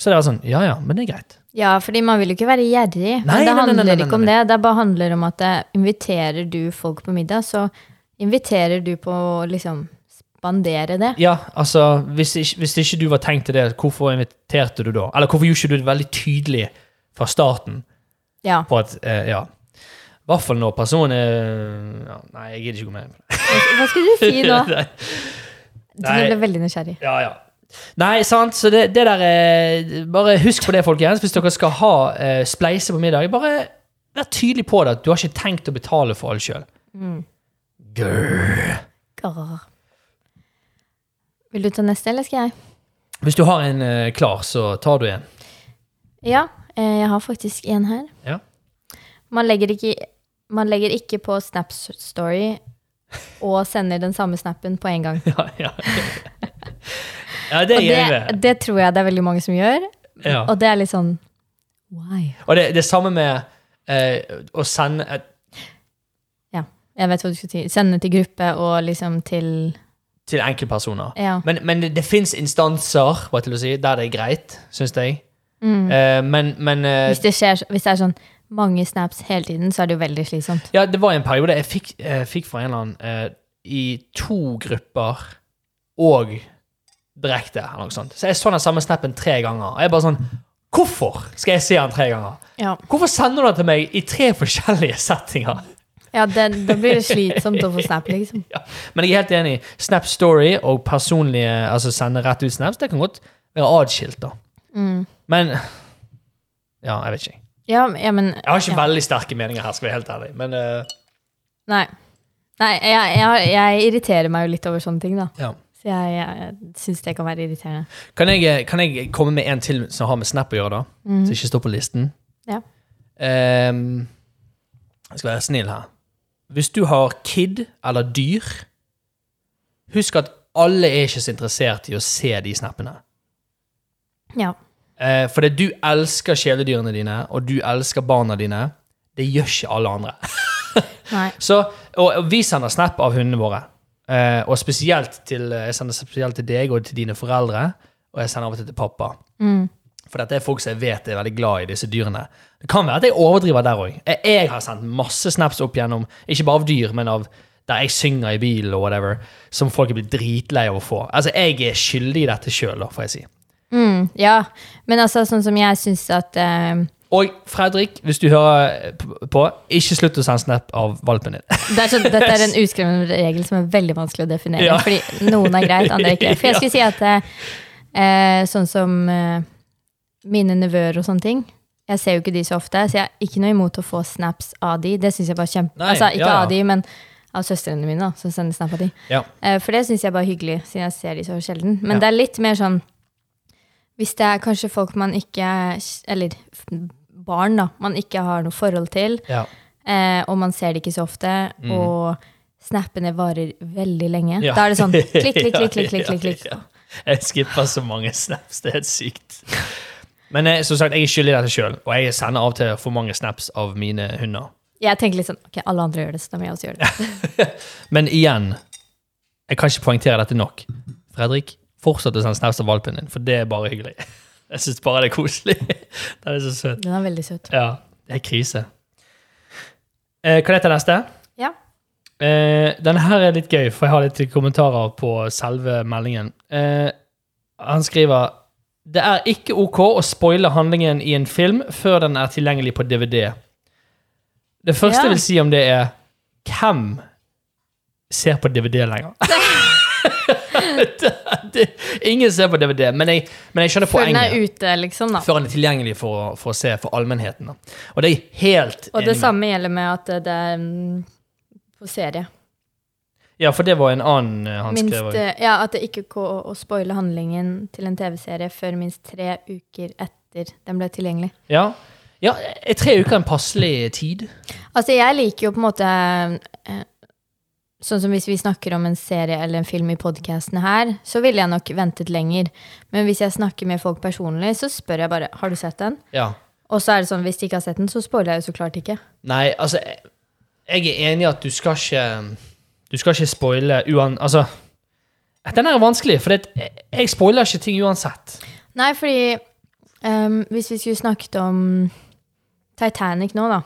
Speaker 1: Så det var sånn Ja ja, men det er greit.
Speaker 2: Ja, fordi man vil jo ikke være gjerrig.
Speaker 1: Nei,
Speaker 2: men det
Speaker 1: nei, nei, nei,
Speaker 2: handler
Speaker 1: nei, nei,
Speaker 2: ikke om det. Det bare handler om at eh, inviterer du folk på middag, så inviterer du på å liksom spandere det.
Speaker 1: Ja, altså, hvis ikke, hvis ikke du var tenkt til det, hvorfor inviterte du da? Eller hvorfor gjorde ikke du det veldig tydelig fra starten
Speaker 2: Ja.
Speaker 1: på at eh, Ja. I hvert fall når personen er ja, Nei, jeg gidder ikke gå med på
Speaker 2: Hva skulle du si nå?
Speaker 1: det.
Speaker 2: Du
Speaker 1: Nei.
Speaker 2: ble veldig nysgjerrig.
Speaker 1: Ja, ja. Nei, sant, så det, det der eh, Bare husk på det, folkens. Hvis dere skal ha eh, spleise på middag, bare vær tydelig på det at du har ikke tenkt å betale for alt sjøl.
Speaker 2: Mm. Grr. Vil du ta neste, eller skal jeg?
Speaker 1: Hvis du har en eh, klar, så tar du en.
Speaker 2: Ja, eh, jeg har faktisk en her.
Speaker 1: Ja.
Speaker 2: Man legger ikke, man legger ikke på Snap Story og sender den samme snappen på en gang.
Speaker 1: Ja, ja. ja det
Speaker 2: Og
Speaker 1: er jeg med.
Speaker 2: det, det tror jeg det er veldig mange som gjør.
Speaker 1: Ja.
Speaker 2: Og det er litt sånn Why?
Speaker 1: Og det, det er samme med eh, å sende et,
Speaker 2: Jeg vet hva du skulle si. Sende til gruppe og liksom til
Speaker 1: til enkeltpersoner.
Speaker 2: Ja.
Speaker 1: Men, men det, det fins instanser hva til å si, der det er greit, syns jeg.
Speaker 2: Mm.
Speaker 1: Eh, men men eh,
Speaker 2: Hvis det, skjer, hvis det er sånn mange snaps hele tiden, så er det jo veldig slitsomt.
Speaker 1: Ja, det var en periode jeg fikk, jeg fikk fra en eller annen eh, i to grupper og direkte, eller noe sånt. Så jeg så den samme snappen tre ganger. Og jeg bare sånn Hvorfor skal jeg se den tre ganger?
Speaker 2: Ja,
Speaker 1: Hvorfor sender du den til meg i tre forskjellige settinger?
Speaker 2: det, Da blir det slitsomt å få snap, liksom.
Speaker 1: Ja. Men jeg er helt enig. Snap Story og personlige, altså sende rett ut snaps, det kan godt være adskilt, da.
Speaker 2: Mm.
Speaker 1: Men Ja, jeg vet ikke.
Speaker 2: Ja, men- ja, men
Speaker 1: Jeg har ikke
Speaker 2: ja.
Speaker 1: veldig sterke meninger her, skal jeg være helt ærlig. Men eh,
Speaker 2: Nei. Nei, jeg, jeg, jeg irriterer meg jo litt over sånne ting, da.
Speaker 1: ja.
Speaker 2: Så jeg, jeg syns det kan være irriterende.
Speaker 1: Kan jeg, kan jeg komme med en til som har med Snap å gjøre, da? Som ikke står på listen?
Speaker 2: Ja.
Speaker 1: Ehm, jeg skal være snill her. Hvis du har kid eller dyr, husk at alle er ikke så interessert i å se de snappene.
Speaker 2: Ja.
Speaker 1: Eh, for det du elsker kjæledyrene dine, og du elsker barna dine. Det gjør ikke alle andre.
Speaker 2: Nei.
Speaker 1: Så, og, og vi sender snap av hundene våre. Eh, og spesielt til, eh, jeg sender spesielt til deg og til dine foreldre, og jeg sender av og til til pappa.
Speaker 2: Mm.
Speaker 1: For dette er folk som jeg vet er veldig glad i disse dyrene. Det kan være at jeg overdriver der òg. Jeg, jeg har sendt masse snaps opp gjennom, ikke bare av dyr, men av der jeg synger i bilen og whatever, som folk er blitt dritlei av å få. Altså, jeg er skyldig i dette sjøl, får jeg si.
Speaker 2: Mm, ja. Men altså, sånn som jeg syns at eh,
Speaker 1: Og Fredrik, hvis du hører p- på, ikke slutt å sende snap av valpen din.
Speaker 2: det er sånn, Dette er en uskreven regel som er veldig vanskelig å definere.
Speaker 1: Ja.
Speaker 2: Fordi noen er greit, andre ikke. For jeg skulle si at eh, eh, sånn som eh, mine nevøer og sånne ting Jeg ser jo ikke de så ofte, så jeg har ikke noe imot å få snaps av de. Det synes jeg bare er kjempe...
Speaker 1: Nei,
Speaker 2: altså, ikke
Speaker 1: ja, ja.
Speaker 2: av de, men av søstrene mine, da, som sender snap av de.
Speaker 1: Ja.
Speaker 2: Eh, For det syns jeg bare er hyggelig, siden jeg ser de så sjelden. Men
Speaker 1: Ja.
Speaker 2: det er litt mer sånn Hvis det er kanskje folk man ikke Eller f- barn, da. Man ikke har noe forhold til,
Speaker 1: Ja.
Speaker 2: eh, og man ser det ikke så ofte, og snappene varer veldig lenge.
Speaker 1: Mm. Ja.
Speaker 2: Da er det sånn klikk, klikk, klikk, klikk, klikk, klikk, klikk.
Speaker 1: Ja, ja. Jeg skipper så mange snaps, det er helt sykt. Men eh, som sagt, jeg er skyldig i dette sjøl, og jeg sender av og til for mange snaps av mine hunder.
Speaker 2: Jeg tenker litt sånn Ok, alle andre gjør det, så da må jeg også gjøre det.
Speaker 1: Men igjen, jeg kan ikke poengtere dette nok. Fredrik, fortsett å sende snaps av valpen din, for det er bare hyggelig. Jeg syns bare det er koselig. Den er så søt.
Speaker 2: Den er veldig søt.
Speaker 1: Ja, det er krise. Eh, Kan jeg ta neste?
Speaker 2: Ja.
Speaker 1: Eh, denne her er litt gøy, for jeg har litt kommentarer på selve meldingen. Eh, han skriver Det er ikke ok å spoile handlingen i en film før den er tilgjengelig på DVD. Det første
Speaker 2: Ja.
Speaker 1: jeg vil si om det, er hvem ser på DVD lenger? det, det, ingen ser på DVD, men jeg, men jeg skjønner
Speaker 2: Før den er
Speaker 1: poenget.
Speaker 2: ute, liksom, da.
Speaker 1: Før den er tilgjengelig for, å- for å se for allmennheten. Da. Og det er jeg helt
Speaker 2: Og det
Speaker 1: enig med.
Speaker 2: samme gjelder med at det- det er mm, på serie.
Speaker 1: Ja, for det var en annen eh, han skrev.
Speaker 2: Minst,
Speaker 1: også.
Speaker 2: eh, ja, at det ikke går å- å spoile handlingen til en TV-serie før minst tre uker etter den ble tilgjengelig.
Speaker 1: Ja. ja, eh, tre uker er en passelig tid.
Speaker 2: Altså, jeg liker jo på en måte eh, Sånn som hvis vi snakker om en serie eller en film i podkasten her, så ville jeg nok ventet lenger. Men hvis jeg snakker med folk personlig, så spør jeg bare har du sett den.
Speaker 1: Ja.
Speaker 2: Og så er det sånn, hvis de ikke har sett den, så spoiler jeg jo så klart ikke.
Speaker 1: Nei, altså Jeg jeg er enig i at du skal ikke Du skal ikke spoile uan... Altså Den er vanskelig, for det, jeg- jeg spoiler ikke ting uansett.
Speaker 2: Nei, fordi ehm, hvis vi skulle snakket om Titanic nå, da.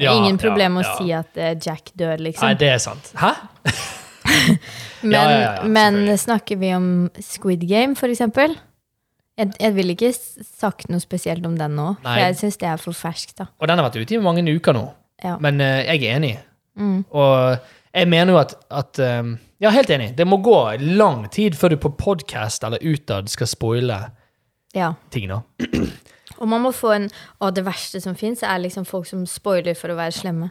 Speaker 2: Det er
Speaker 1: Ja,
Speaker 2: ingen
Speaker 1: ja,
Speaker 2: problem å
Speaker 1: ja.
Speaker 2: si at eh, Jack dør, liksom.
Speaker 1: Nei, det er sant. Hæ? ja,
Speaker 2: men,
Speaker 1: ja, ja,
Speaker 2: men
Speaker 1: selvfølgelig.
Speaker 2: snakker vi om Squid Game, for eksempel? Jeg, jeg vil ikke s- sagt noe spesielt om den nå,
Speaker 1: Nei.
Speaker 2: for jeg syns det er for ferskt, da.
Speaker 1: Og den har vært ute i mange uker nå.
Speaker 2: Ja.
Speaker 1: Men eh, jeg er enig.
Speaker 2: Mm.
Speaker 1: Og jeg mener jo at, at eh, Ja, helt enig. Det må gå lang tid før du på podkast eller utad skal spoile
Speaker 2: Ja.
Speaker 1: ting, da.
Speaker 2: Og man må få en Og det verste som fins, er liksom folk som spoiler for å være slemme.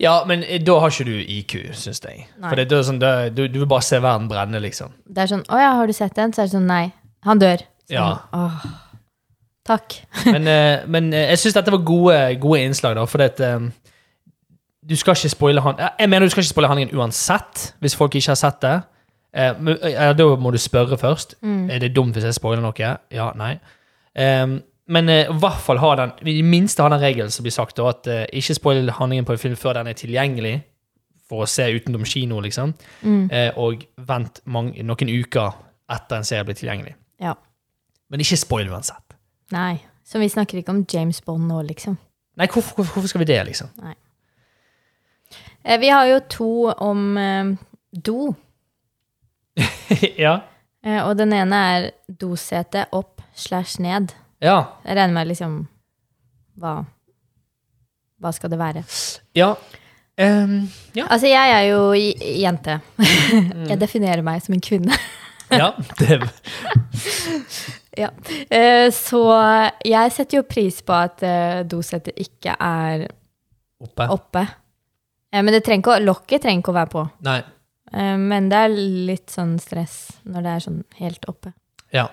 Speaker 1: Ja, men eh, da har ikke du IQ, syns jeg.
Speaker 2: Nei.
Speaker 1: For det, det er sånn, det, du, du vil bare se verden brenne, liksom.
Speaker 2: Det er sånn 'Å ja, har du sett den?' Så er det sånn 'Nei, han dør'. Så
Speaker 1: Ja.
Speaker 2: man, Åh. Takk.
Speaker 1: Men, eh, men eh, jeg syns dette var gode, gode innslag, da, fordi at eh, Du skal ikke spoile han Jeg mener du skal ikke spoile handlingen uansett, hvis folk ikke har sett det. Eh, men, eh, da må du spørre først. Er det dumt hvis jeg spoiler noe? Ja, nei. Eh, men eh, i hvert fall ha den i det minste ha den regelen som blir sagt, da, at eh, ikke spoil handlingen på en film før den er tilgjengelig for å se utenom kino, liksom.
Speaker 2: Mm,
Speaker 1: Eh, og vent mange, noen uker etter en serie blir tilgjengelig.
Speaker 2: Ja.
Speaker 1: Men ikke spoil uansett.
Speaker 2: Nei. Så vi snakker ikke om James Bond nå, liksom.
Speaker 1: Nei, hvorfor, hvorfor, hvorfor skal vi det, liksom?
Speaker 2: Eh, Vi har jo to om eh, do.
Speaker 1: ja.
Speaker 2: Eh, og den ene er dosete opp slash ned.
Speaker 1: Ja.
Speaker 2: Jeg regner med liksom hva, hva skal det være?
Speaker 1: Ja. Ehm, ja.
Speaker 2: Altså, jeg er jo j- jente.
Speaker 1: Mm.
Speaker 2: jeg definerer meg som en kvinne.
Speaker 1: ja. Det,
Speaker 2: ja. Eh, så jeg setter jo pris på at eh, dosetet ikke er
Speaker 1: oppe.
Speaker 2: oppe. Eh, men det trenger ikke å, lokket trenger ikke å være på.
Speaker 1: Nei.
Speaker 2: Eh, men det er litt sånn stress når det er sånn helt oppe.
Speaker 1: Ja.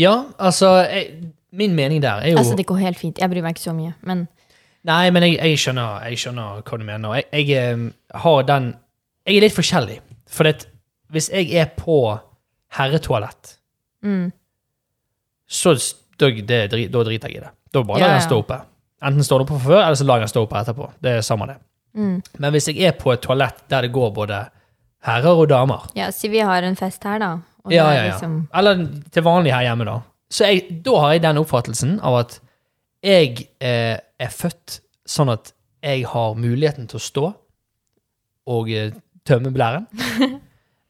Speaker 1: Ja, altså jeg, Min mening der er jo
Speaker 2: Altså, det går helt fint. Jeg bryr meg ikke så mye, men
Speaker 1: Nei, men jeg, jeg, skjønner, jeg skjønner hva du mener. Jeg, jeg ehm, har den Jeg er litt forskjellig. For det, hvis jeg er på herretoalett,
Speaker 2: mm,
Speaker 1: så s- da, det, dri- da driter jeg i det. Da bare
Speaker 2: Ja,
Speaker 1: lar jeg
Speaker 2: ja.
Speaker 1: den stå oppe. Enten står den oppe før, eller så lar jeg den stå oppe etterpå. Det er samme det.
Speaker 2: mm.
Speaker 1: Men hvis jeg er på et toalett der det går både herrer og damer,
Speaker 2: Ja, si vi har en fest her, da. Og
Speaker 1: Ja,
Speaker 2: det er
Speaker 1: ja, ja.
Speaker 2: Liksom,
Speaker 1: Eller til vanlig her hjemme, da. Så jeg, da har jeg den oppfattelsen av at jeg eh, er født sånn at jeg har muligheten til å stå og eh, tømme blæren.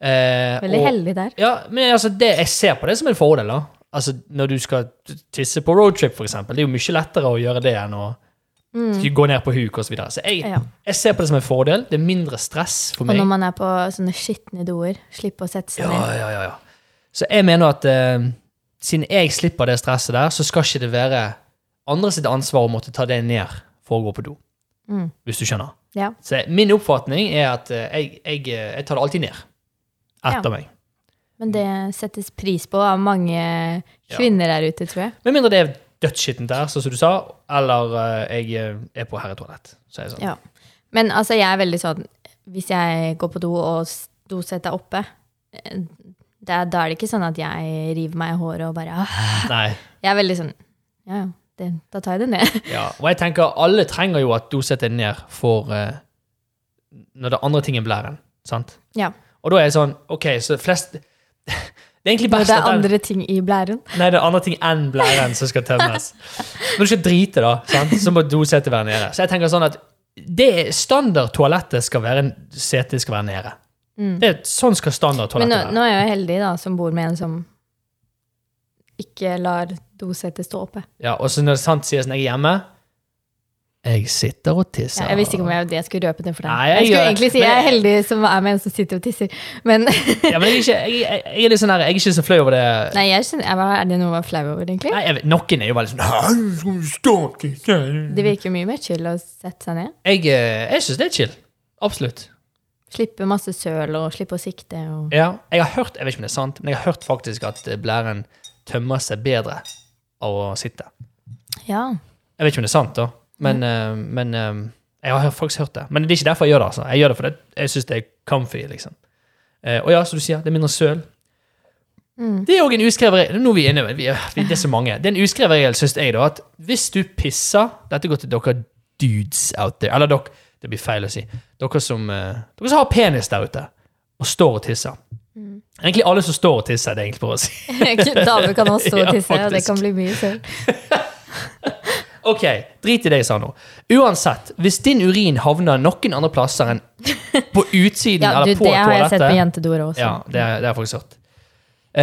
Speaker 1: Eh,
Speaker 2: veldig
Speaker 1: og-
Speaker 2: heldig der.
Speaker 1: Ja, men altså, det, jeg ser på det som en fordel, da. Altså, når du skal t- tisse på roadtrip, for eksempel. Det er jo mye lettere å gjøre det enn å gå ned på huk og Så, videre. så jeg,
Speaker 2: Mm. Ja.
Speaker 1: jeg ser på det som en fordel. Det er mindre stress for
Speaker 2: Og
Speaker 1: meg.
Speaker 2: når man er på sånne skitne doer, slippe å sette seg
Speaker 1: Ja,
Speaker 2: ned.
Speaker 1: ja, ja, ja. Så jeg mener at eh, siden jeg slipper det stresset der, så skal ikke det være andre sitt ansvar å måtte ta det ned for å gå på do.
Speaker 2: Mm.
Speaker 1: Hvis du skjønner.
Speaker 2: Ja.
Speaker 1: Så min oppfatning er at eh, jeg, jeg, eh, jeg tar det alltid ned. Etter
Speaker 2: Ja.
Speaker 1: meg.
Speaker 2: Men det
Speaker 1: Mm.
Speaker 2: settes pris på av mange kvinner der ute, tror jeg.
Speaker 1: Med mindre det er dødsskittent der, sånn som du sa, eller eh, jeg eh, er på herretoalett. Så er jeg sånn.
Speaker 2: Ja. Men altså, jeg er veldig sånn Hvis jeg går på do, og s- dosetet er oppe, eh, det er, da er det ikke sånn at jeg river meg i håret og bare ah.
Speaker 1: Nei.
Speaker 2: Jeg er veldig sånn Ja, ja, det, da tar jeg det ned.
Speaker 1: Ja. Og jeg tenker alle trenger jo at doset er ned for eh, når det andre ting er blæren. Sant?
Speaker 2: Ja.
Speaker 1: Og da er jeg sånn OK, så flest Det er egentlig
Speaker 2: Og
Speaker 1: best
Speaker 2: det er
Speaker 1: at den-
Speaker 2: andre ting i blæren.
Speaker 1: Nei, det er andre ting enn blæren som skal tømmes. Når du skal drite, da, sant? så må dosetet være nede. Så jeg tenker sånn at det standard toalettet skal være setet skal være nede. Det, er- sånn skal standard
Speaker 2: Mm. Men nå,
Speaker 1: toalettet være.
Speaker 2: nå er jeg jo heldig, da, som bor med en som ikke lar dosetet stå oppe.
Speaker 1: Ja, og så når sant sier sånn, jeg er hjemme Jeg sitter og tisser.
Speaker 2: Ja, jeg visste ikke om jeg, det jeg skulle røpe det for deg.
Speaker 1: Nei, jeg
Speaker 2: jeg, skulle
Speaker 1: gjør-
Speaker 2: egentlig si
Speaker 1: men-
Speaker 2: jeg er heldig som er med en som sitter og tisser. Men
Speaker 1: ja, men jeg er, ikke, jeg, jeg, jeg, er litt sånn her, jeg er ikke så fløy over det.
Speaker 2: nei, jeg skjønner, jeg, var- er det noe å være flau over, egentlig?
Speaker 1: Nei, jeg, vet- Noen er jo veldig sånn «Hæ, skal du stå og tisse?»
Speaker 2: Det virker mye mer chill å sette seg ned.
Speaker 1: Jeg, eh, jeg syns det er chill. Absolutt.
Speaker 2: Slippe masse søl og slippe å sikte. Og...
Speaker 1: Ja, jeg har hørt, jeg vet ikke om det er sant, men jeg har hørt faktisk at blæren tømmer seg bedre av å sitte.
Speaker 2: Ja.
Speaker 1: Jeg vet ikke om det er sant, da. Men, eh, men eh, jeg har faktisk hørt det. Men det er ikke derfor jeg gjør det. altså. Jeg gjør det fordi jeg syns det er comfy. liksom. Eh, og ja, som du sier, det er mindre søl.
Speaker 2: Mm.
Speaker 1: Det er òg en uskreven regel. Nå er vi inne, vi er, vi, det er så mange. Det er en uskreven regel, syns jeg, da, at hvis du pisser Dette går til dere dudes out there. Eller dere Det blir feil å si. Dere som, eh, dere som har penis der ute, og står og tisser.
Speaker 2: Mm.
Speaker 1: Egentlig alle som står og tisser, det er egentlig bare å si.
Speaker 2: Damer kan også stå
Speaker 1: Ja,
Speaker 2: og tisse, og det
Speaker 1: faktisk.
Speaker 2: kan bli mye søl.
Speaker 1: Ok, drit i det jeg sa nå. Uansett, hvis din urin havner noen andre plasser enn på utsiden
Speaker 2: Ja, du,
Speaker 1: eller på
Speaker 2: det har jeg sett på
Speaker 1: toalettet
Speaker 2: jentedoer også.
Speaker 1: Ja, det har jeg faktisk hørt.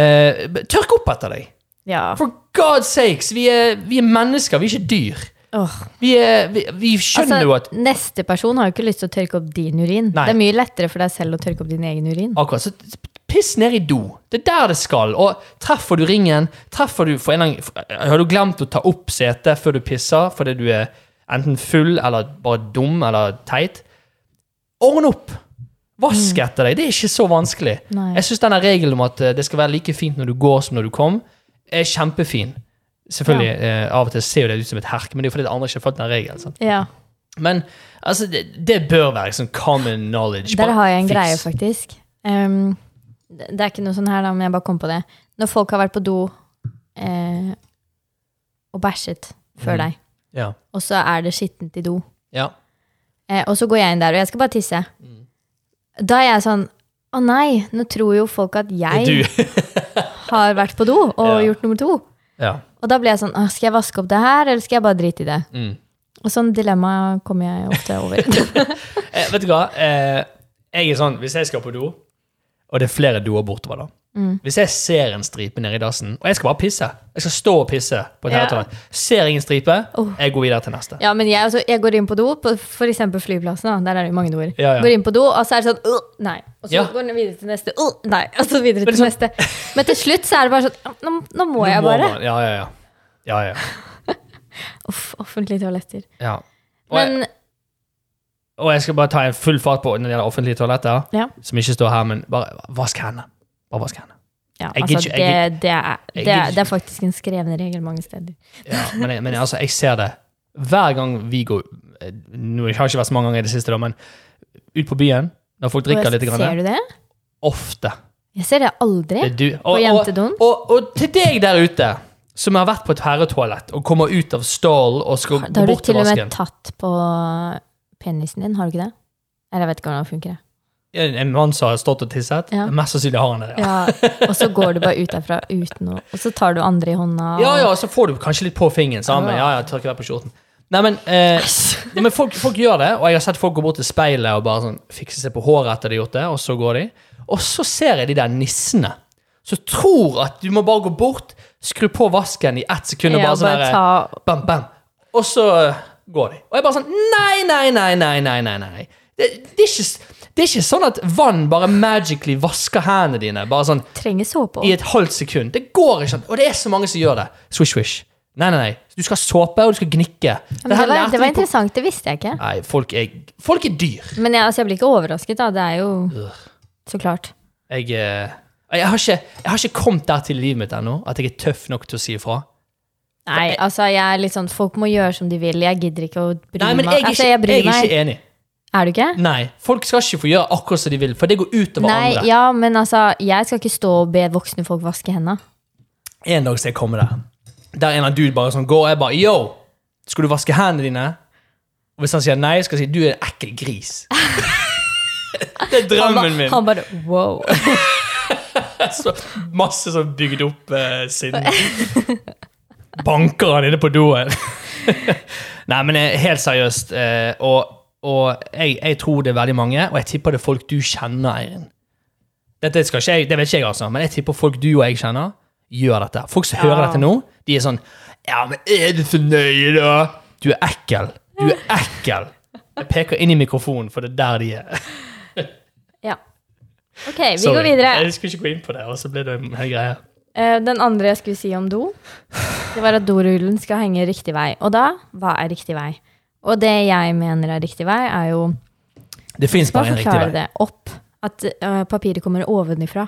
Speaker 1: Eh, b- tørk opp etter deg.
Speaker 2: Ja.
Speaker 1: For God's sakes, vi er, vi er mennesker, vi er ikke dyr.
Speaker 2: Åh.
Speaker 1: Vi, er, vi, vi skjønner jo at
Speaker 2: Altså, neste person har jo ikke lyst til å tørke opp din urin.
Speaker 1: Nei.
Speaker 2: Det er mye lettere for deg selv å tørke opp din egen urin.
Speaker 1: Akkurat, så piss ned i do. Det er der det skal. Og treffer du ringen, treffer du for en eller annen, Har du glemt å ta opp setet før du pisser fordi du er enten full eller bare dum eller teit? Ordne opp! Vask etter deg. Det er ikke så vanskelig.
Speaker 2: Mm. Nei.
Speaker 1: Jeg syns denne regelen om at eh, det skal være like fint når du går som når du kom, er kjempefin. Selvfølgelig, eh, av og til ser jo det ut som et herk, men det er jo fordi andre ikke har fulgt den regelen. sant?
Speaker 2: Ja,
Speaker 1: Men altså, det, det bør være sånn common knowledge.
Speaker 2: Der
Speaker 1: Bare
Speaker 2: har jeg en
Speaker 1: fiks.
Speaker 2: greie, faktisk. Ehm, det det er ikke noe sånn her, da, men jeg bare kom på det. Når folk har vært på do eh, og bæsjet før
Speaker 1: Mhm.
Speaker 2: deg,
Speaker 1: Ja.
Speaker 2: og så er det skittent i do,
Speaker 1: ja.
Speaker 2: eh, og så går jeg inn der, og jeg skal bare tisse,
Speaker 1: Mm.
Speaker 2: da er jeg sånn Å nei, nå tror jo folk at jeg
Speaker 1: Du.
Speaker 2: har vært på do og
Speaker 1: Ja.
Speaker 2: gjort nummer to.
Speaker 1: ja.
Speaker 2: Og da blir jeg sånn «Åh, Skal jeg vaske opp det her, eller skal jeg bare drite i det?
Speaker 1: Mm.
Speaker 2: Og sånn dilemma kommer jeg ofte over.
Speaker 1: Eh, vet du hva? Eh, jeg er sånn, Hvis jeg skal på do, og det er flere doer bortover da,
Speaker 2: Mm.
Speaker 1: Hvis jeg ser en stripe nede i dassen, og jeg skal bare pisse Jeg skal stå og pisse på et
Speaker 2: Ja.
Speaker 1: herretoalett. Ser ingen stripe,
Speaker 2: Oh.
Speaker 1: jeg går videre til neste.
Speaker 2: ja, men jeg, altså, jeg går inn på do, på f.eks. flyplassen, da, der er det jo mange doer.
Speaker 1: Ja, ja.
Speaker 2: Går inn på do, og så er det sånn «Åh, Nei. Og så
Speaker 1: Ja.
Speaker 2: går den videre til neste. «Åh, nei, og så videre til
Speaker 1: sånn-
Speaker 2: neste. Men til slutt så er det bare sånn «Åh, Nå, nå
Speaker 1: Nå
Speaker 2: må
Speaker 1: må
Speaker 2: jeg bare.
Speaker 1: man- Ja, ja, ja. ja, ja,
Speaker 2: Uff, offentlige toaletter.
Speaker 1: ja. Og, jeg,
Speaker 2: Men
Speaker 1: og jeg skal bare ta en full fart på når det gjelder offentlige toaletter,
Speaker 2: Ja.
Speaker 1: som ikke står her, men bare vask hendene. Bare vask hendene.
Speaker 2: ja,
Speaker 1: Jeg
Speaker 2: altså,
Speaker 1: gidder ikke-
Speaker 2: det,
Speaker 1: jeg
Speaker 2: det, er,
Speaker 1: jeg
Speaker 2: det,
Speaker 1: gidder
Speaker 2: er, det er faktisk en skreven regel mange steder.
Speaker 1: Ja, men, jeg, men jeg- altså, jeg ser det hver gang vi går eh, Nå har det ikke vært så mange ganger i det siste, da, men ut på byen, når folk drikker
Speaker 2: Og jeg-
Speaker 1: litt,
Speaker 2: ser
Speaker 1: grann,
Speaker 2: du det?
Speaker 1: ofte
Speaker 2: Jeg ser det aldri.
Speaker 1: Det er du.
Speaker 2: På
Speaker 1: Og, og,
Speaker 2: jentedoen.
Speaker 1: og, og til deg der ute, som har vært på et herretoalett og kommer ut av stallen og skal
Speaker 2: Ah, Da
Speaker 1: gå
Speaker 2: har du
Speaker 1: bort til
Speaker 2: til og med
Speaker 1: vasken
Speaker 2: tatt på penisen din, har du ikke det? Eller jeg vet ikke hvordan det funker. jeg.
Speaker 1: En en mann som har stått og tisset?
Speaker 2: Ja.
Speaker 1: Mest sannsynlig har han det. Ja.
Speaker 2: Ja, og så går du bare ut derfra uten noe, og så tar du andre i hånda. og-
Speaker 1: ja ja, så får du kanskje litt på fingeren. Sammen.
Speaker 2: Ja.
Speaker 1: Ja ja, tørker deg på skjorten. Nei, men, eh, ja, men folk, folk gjør det, og jeg har sett folk gå bort til speilet og bare sånn fikse seg på håret etter de har gjort det, og så går de. Og så ser jeg de der nissene som tror at du må bare gå bort, skru på vasken i ett sekund og
Speaker 2: Ja,
Speaker 1: bare sånn der-
Speaker 2: ta
Speaker 1: bam, bam. Og så eh, går de. Og jeg bare sånn Nei, nei, nei, nei, nei, nei. nei. Det, det, er ikke, s- det er ikke sånn at vann bare magically vasker hendene dine bare sånn
Speaker 2: Trenger såpe
Speaker 1: i
Speaker 2: òg.
Speaker 1: et halvt sekund. Det går ikke sånn. Og det er så mange som gjør det. Swish, swish. Nei, nei, nei. Du skal ha såpe, og du skal gnikke.
Speaker 2: Det,
Speaker 1: her
Speaker 2: var-
Speaker 1: lærte
Speaker 2: det var
Speaker 1: vi på-
Speaker 2: interessant, det visste jeg ikke.
Speaker 1: Nei, folk er, folk er dyr.
Speaker 2: Men jeg, altså, jeg blir ikke overrasket, da. Det er jo Så klart.
Speaker 1: Jeg, eh, jeg, har ikke, jeg har ikke kommet der til i livet mitt ennå at jeg er tøff nok til å si ifra.
Speaker 2: Nei, altså, jeg er litt sånn Folk må gjøre som de vil. Jeg gidder ikke å bry
Speaker 1: Nei, men
Speaker 2: meg.
Speaker 1: jeg er
Speaker 2: Altså,
Speaker 1: ikke,
Speaker 2: jeg bryr
Speaker 1: jeg er
Speaker 2: meg.
Speaker 1: ikke enig.
Speaker 2: Er du ikke?
Speaker 1: Nei, Folk skal ikke få gjøre akkurat som de vil, for det går utover
Speaker 2: Nei,
Speaker 1: andre.
Speaker 2: ja, men altså, jeg skal ikke stå og be voksne folk vaske hendene.
Speaker 1: En dag skal jeg komme der. Der en av dude bare sånn går, og jeg bare Yo! Skal du vaske hendene dine? Og hvis han sier nei, skal jeg si du er en ekkel gris. det er
Speaker 2: Han, ba,
Speaker 1: drømmen min.
Speaker 2: han bare wow.
Speaker 1: Så, masse sånn bygd opp eh, siden Banker han inne på doen. nei, men eh, helt seriøst, eh, og, og jeg, jeg tror det er veldig mange, og jeg tipper det er folk du kjenner, Eirin. Dette skal ikke jeg, det vet ikke jeg, altså, men jeg tipper folk du og jeg kjenner, gjør dette. Folk som
Speaker 2: Ja.
Speaker 1: hører dette nå, de er sånn Ja, men er du så nøye, da? Du er ekkel. Du er ekkel. Jeg peker inn i mikrofonen, for det er der de er.
Speaker 2: Ja. OK, vi går videre.
Speaker 1: Jeg skulle ikke gå inn på det, og så ble det en hel greie.
Speaker 2: Eh, Den andre jeg skulle si om do, det var at dorullen skal henge riktig vei. Og da, hva er riktig vei? Og det jeg mener er riktig vei, er jo
Speaker 1: Det fins
Speaker 2: Hva
Speaker 1: bare én riktig
Speaker 2: forklarer
Speaker 1: vei.
Speaker 2: det? Opp. At eh, papiret kommer ovenifra,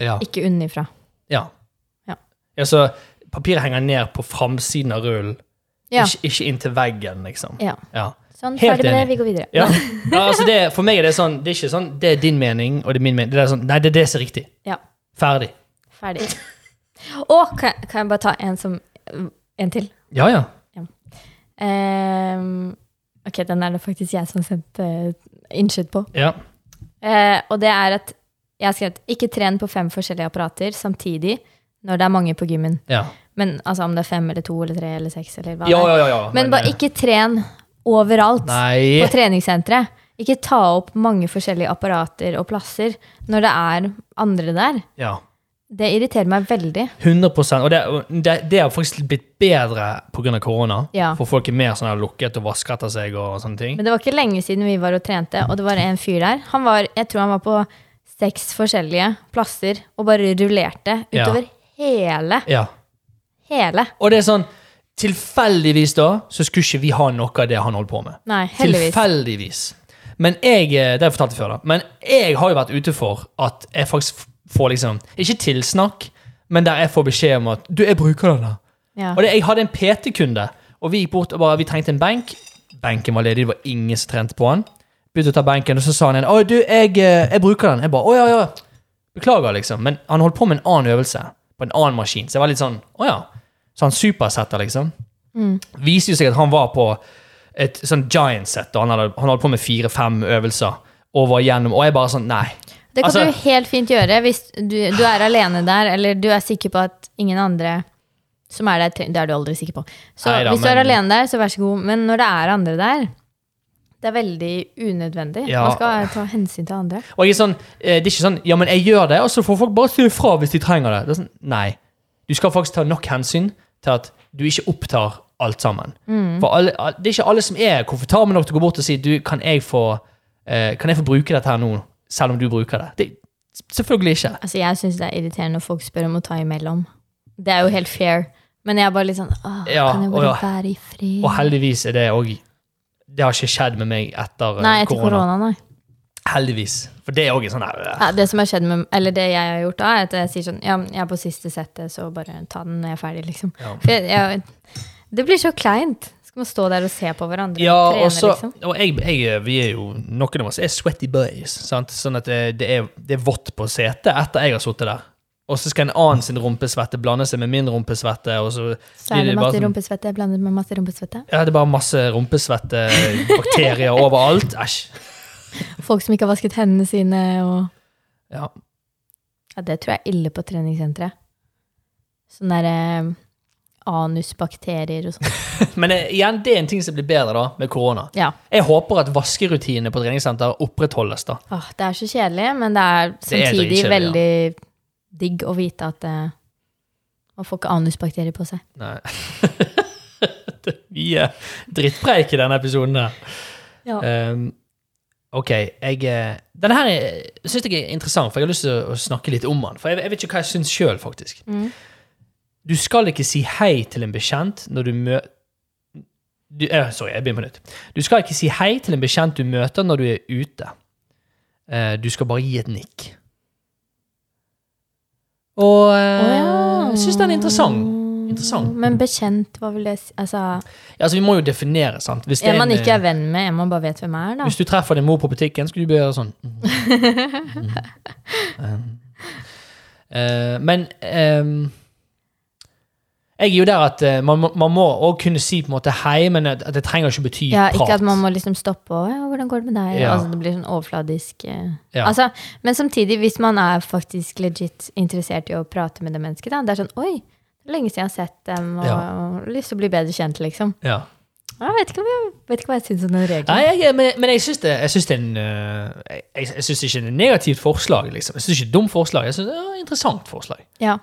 Speaker 1: Ja.
Speaker 2: ikke unnifra.
Speaker 1: Ja.
Speaker 2: Ja.
Speaker 1: Altså, papiret henger ned på framsiden av rullen,
Speaker 2: Ja.
Speaker 1: ikke, ikke inntil veggen, liksom.
Speaker 2: ja.
Speaker 1: Ja.
Speaker 2: Sånn,
Speaker 1: Helt
Speaker 2: ferdig med det.
Speaker 1: enig.
Speaker 2: Vi går videre.
Speaker 1: Ja. Ja, altså det, for meg er det sånn Det er ikke sånn Det er din mening, og det er min mening. Det er sånn, nei, det er det som er riktig.
Speaker 2: Ja.
Speaker 1: Ferdig.
Speaker 2: Ferdig. Og kan, kan jeg bare ta en som En til?
Speaker 1: Ja, ja.
Speaker 2: Ehm, ok, den er det faktisk jeg som sendte innskudd på.
Speaker 1: ja.
Speaker 2: Eh, og det er at jeg har skrevet 'ikke tren på fem forskjellige apparater samtidig' når det er mange på gymmen.
Speaker 1: Ja,
Speaker 2: Men altså om det er fem eller to eller tre eller seks eller hva
Speaker 1: ja, ja.
Speaker 2: det
Speaker 1: ja,
Speaker 2: er.
Speaker 1: ja.
Speaker 2: Men bare
Speaker 1: eh,
Speaker 2: ikke tren overalt
Speaker 1: Nei.
Speaker 2: på treningssenteret. Ikke ta opp mange forskjellige apparater og plasser når det er andre der.
Speaker 1: Ja.
Speaker 2: Det irriterer meg veldig.
Speaker 1: 100 Og det, det, det har faktisk blitt bedre pga. korona.
Speaker 2: Ja.
Speaker 1: For folk er mer sånn her lukket og vasker etter seg og sånne ting.
Speaker 2: Men det var ikke lenge siden vi var og trente, og det var en fyr der. Han var, jeg tror han var på seks forskjellige plasser og bare rullerte
Speaker 1: Ja.
Speaker 2: utover hele,
Speaker 1: Ja.
Speaker 2: hele.
Speaker 1: Og det er sånn Tilfeldigvis, da, så skulle ikke vi ha noe av det han holdt på med.
Speaker 2: Nei, heldigvis.
Speaker 1: Tilfeldigvis. Men jeg eh, det har jeg fortalt før da, men jeg har jo vært ute for at jeg faktisk f- får liksom Ikke tilsnakk, men der jeg får beskjed om at 'du, jeg bruker det der'.
Speaker 2: Ja.
Speaker 1: Og det, jeg hadde en PT-kunde, og vi gikk bort og bare, vi trengte en benk. Benken var ledig, det var ingen som trente på den. Begynte å ta benken, og så sa han igjen 'Å, du, jeg, eh, jeg bruker den'. Jeg bare 'Å, ja, ja'. Beklager, liksom. Men han holdt på med en annen øvelse på en annen maskin, så jeg var litt sånn 'Å ja'. Så han supersetter, liksom. Viser jo seg at han var på et sånn giant set, og han hadde, han holdt på med fire-fem øvelser. Og var gjennom, og jeg bare sånn Nei.
Speaker 2: Det kan
Speaker 1: Altså-
Speaker 2: du helt fint gjøre hvis du, du er alene der, eller du er sikker på at ingen andre som er der, tre- det er du aldri sikker på. Så
Speaker 1: Neida,
Speaker 2: hvis du er
Speaker 1: men-
Speaker 2: alene der, så vær så god. Men når det er andre der, det er veldig unødvendig.
Speaker 1: Ja.
Speaker 2: Man skal ta hensyn til andre.
Speaker 1: Og jeg er sånn, eh, Det er ikke sånn ja, men jeg gjør det, og så får folk bare si ifra hvis de trenger det. det er sånn, nei. Du skal faktisk ta nok hensyn til at du ikke opptar alt sammen. For alle, al- Det er ikke alle som er komfortable nok til å gå bort og si du, kan jeg få, eh, kan jeg få bruke dette her nå, selv om du bruker det. det selvfølgelig ikke.
Speaker 2: Altså, jeg syns det er irriterende når folk spør om å ta imellom. Det er jo helt fair. Men jeg er bare litt sånn Åh,
Speaker 1: Ja,
Speaker 2: Kan jeg
Speaker 1: og
Speaker 2: bare
Speaker 1: ja.
Speaker 2: være i fred?
Speaker 1: Og heldigvis er det òg Det har ikke skjedd med meg etter eh,
Speaker 2: Nei, etter
Speaker 1: korona.
Speaker 2: korona, nei.
Speaker 1: Heldigvis. For det er òg en sånn her, eh,
Speaker 2: Ja, det som har skjedd med Eller det jeg har gjort da, er at jeg sier sånn Ja, jeg er på siste settet, så bare ta den når jeg er ferdig, liksom.
Speaker 1: Ja.
Speaker 2: For jeg, jeg, det blir så kleint. Skal man stå der og se på hverandre
Speaker 1: Ja,
Speaker 2: og trene,
Speaker 1: og så,
Speaker 2: liksom?
Speaker 1: og jeg, jeg, eh, vi er jo, noen av oss er sweaty boys, sant? sånn at det, det, er, det er vått på setet etter jeg har sittet der. Og så skal en annen sin rumpesvette blande seg med min rumpesvette, og så
Speaker 2: Så er
Speaker 1: blir
Speaker 2: det
Speaker 1: bare
Speaker 2: masse
Speaker 1: sånn-
Speaker 2: rumpesvette. Jeg blander med masse rumpesvette.
Speaker 1: Ja, det er bare masse rumpesvettebakterier overalt. Æsj.
Speaker 2: Folk som ikke har vasket hendene sine og
Speaker 1: Ja.
Speaker 2: Ja, det tror jeg er ille på treningssenteret. Sånn derre eh, anusbakterier og sånn.
Speaker 1: Men eh, igjen, det er en ting som blir bedre da, med korona.
Speaker 2: Ja.
Speaker 1: Jeg håper at vaskerutinene på treningssenter opprettholdes da.
Speaker 2: Åh, Ah, det er så kjedelig, men det er
Speaker 1: Det er
Speaker 2: samtidig
Speaker 1: dritkjedelig,
Speaker 2: veldig digg å vite at eh, man får ikke anusbakterier på seg.
Speaker 1: Nei. det er mye drittpreik i denne episoden her.
Speaker 2: Ja.
Speaker 1: Ehm, ok, jeg eh, Denne her er- synes jeg er interessant, for jeg har lyst til å- å snakke litt om den. For jeg, jeg vet ikke hva jeg syns sjøl, faktisk.
Speaker 2: Mm.
Speaker 1: Du skal ikke si hei til en bekjent når du møter du, eh, Sorry, jeg begynner på nytt. Du skal ikke si hei til en bekjent du møter når du er ute. Eh, du skal bare gi et nikk. Og eh, jeg syns den er interessant. Interessant.
Speaker 2: Men bekjent, hva vil det si? Altså,
Speaker 1: Altså, vi må jo definere, sant. Hvis det
Speaker 2: en man
Speaker 1: en,
Speaker 2: ikke
Speaker 1: eh,
Speaker 2: er venn med, en man bare vet hvem er, da.
Speaker 1: Hvis du treffer din mor på butikken, skulle du gjøre sånn. Mm. Mm. Eh, men ehm, jeg er jo der at eh, man, må- man må også kunne si på en måte hei, men at at det trenger ikke bety
Speaker 2: Ja,
Speaker 1: prat.
Speaker 2: ikke at man må liksom stoppe og ja, 'Hvordan går det med deg?'
Speaker 1: Ja.
Speaker 2: Altså, det blir sånn overfladisk. eh.
Speaker 1: Ja.
Speaker 2: Altså, men samtidig, hvis man er faktisk legit interessert i å prate med det mennesket, da, det er sånn 'Oi, det er lenge siden jeg har sett dem', og,
Speaker 1: Ja.
Speaker 2: og lyst til å bli bedre kjent, liksom.
Speaker 1: Ja.
Speaker 2: Jeg vet ikke, om jeg, vet ikke hva jeg syns om den regelen.
Speaker 1: Nei, jeg, men, men jeg syns det, jeg syns det er en eh, Jeg, jeg syns ikke det er et negativt forslag, liksom. Jeg syns ikke det er et dumt forslag. Jeg syns det er et interessant forslag.
Speaker 2: Ja.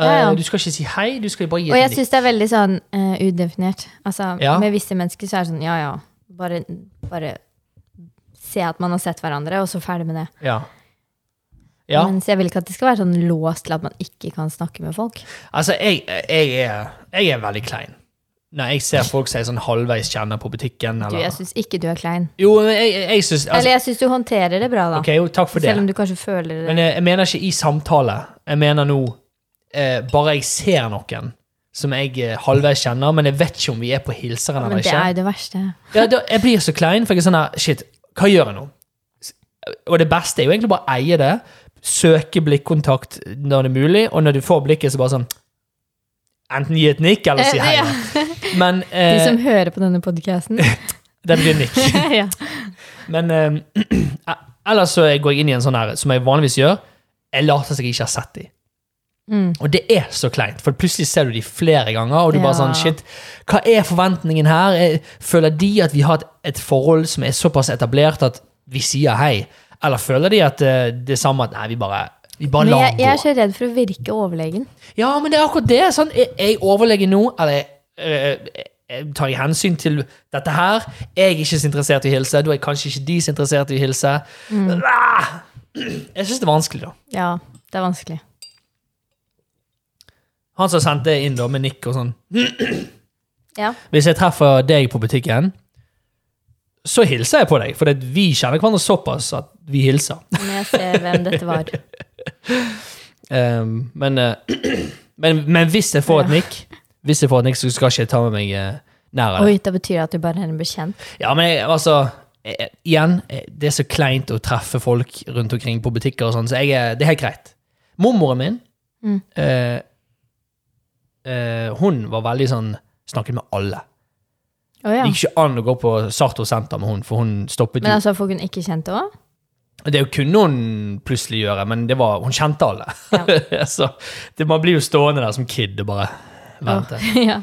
Speaker 1: Eh,
Speaker 2: Ja, ja.
Speaker 1: Du skal ikke si hei, du skal bare gi
Speaker 2: Og jeg
Speaker 1: et nikk.
Speaker 2: syns det er veldig sånn eh, udefinert. Altså,
Speaker 1: Ja.
Speaker 2: Med visse mennesker så er det sånn ja ja, bare, bare se at man har sett hverandre, og så ferdig med det.
Speaker 1: Ja. Ja.
Speaker 2: Mens jeg vil ikke at det skal være sånn låst til at man ikke kan snakke med folk.
Speaker 1: Altså, jeg, jeg, er, jeg er veldig klein. Nei, jeg ser folk som jeg sånn halvveis kjenner på butikken.
Speaker 2: Du,
Speaker 1: Eller.
Speaker 2: jeg syns ikke du er klein.
Speaker 1: Jo, men jeg, jeg, jeg syns altså,
Speaker 2: Eller jeg syns du håndterer det bra, da.
Speaker 1: Ok, jo, takk for det.
Speaker 2: Selv om du kanskje føler det.
Speaker 1: Men eh, jeg, jeg mener ikke i samtale. Jeg mener nå eh, Bare jeg ser noen som jeg eh, halvveis kjenner, men jeg vet ikke om vi er på hilseren
Speaker 2: men
Speaker 1: eller
Speaker 2: det
Speaker 1: ikke.
Speaker 2: er jo det verste.
Speaker 1: Ja, da, jeg blir så klein, for jeg er sånn her Shit, hva gjør jeg nå? S- Og det beste er jo egentlig bare å eie det. Søke blikkontakt når det er mulig, og når du får blikket, så bare sånn Enten gi et nikk, eller si hei.
Speaker 2: Eh, Ja.
Speaker 1: Men
Speaker 2: De
Speaker 1: eh,
Speaker 2: som hører på denne podkasten.
Speaker 1: det blir nikk.
Speaker 2: ja.
Speaker 1: Men eh, ellers så går jeg inn i en sånn her, som jeg vanligvis gjør. Jeg later som jeg ikke har sett dem.
Speaker 2: Mm.
Speaker 1: Og det er så kleint, for plutselig ser du de flere ganger, og du
Speaker 2: Ja.
Speaker 1: bare sånn Shit, hva er forventningen her? Eh, Føler de at vi har et, et forhold som er såpass etablert at vi sier hei? Eller føler de at eh, det er samme at Nei, vi bare, vi bare
Speaker 2: Men
Speaker 1: lar
Speaker 2: jeg,
Speaker 1: den
Speaker 2: jeg er
Speaker 1: gå.
Speaker 2: så redd for å virke overlegen.
Speaker 1: Ja, men det er akkurat det. Sånn, er er jeg overlegen nå, eller eh, eh, tar jeg hensyn til dette her? Jeg er ikke så interessert i å hilse, da er kanskje ikke de så interessert i å hilse. Ah! Jeg syns det er vanskelig, da.
Speaker 2: Ja, det er vanskelig.
Speaker 1: Han som sendte det inn da med nikk og sånn
Speaker 2: Ja.
Speaker 1: Hvis jeg treffer deg på butikken, så hilser jeg på deg. For det- vi kjenner hverandre såpass at vi hilser.
Speaker 2: Men jeg ser hvem dette var.
Speaker 1: Ehm, men, eh, men, men hvis jeg får et
Speaker 2: Ja.
Speaker 1: nikk, Hvis jeg får et nikk, så skal ikke jeg ta med meg eh, nær av det.
Speaker 2: Oi, da betyr det at du bare er en bekjent.
Speaker 1: Ja, men jeg, altså eh, Igjen, eh, det er så kleint å treffe folk rundt omkring på butikker og sånn, så jeg, er- det er helt greit. Mormoren min,
Speaker 2: Mm.
Speaker 1: eh, eh, hun var veldig sånn Snakket med alle.
Speaker 2: Å ja.
Speaker 1: Det gikk ikke an å gå på Sarto senter med hun, for hun stoppet
Speaker 2: Men
Speaker 1: jo
Speaker 2: altså, folk hun ikke kjente òg?
Speaker 1: Det kunne hun plutselig gjøre, men det var, hun kjente alle. så det, man blir jo stående der som kid og bare vente.
Speaker 2: ja.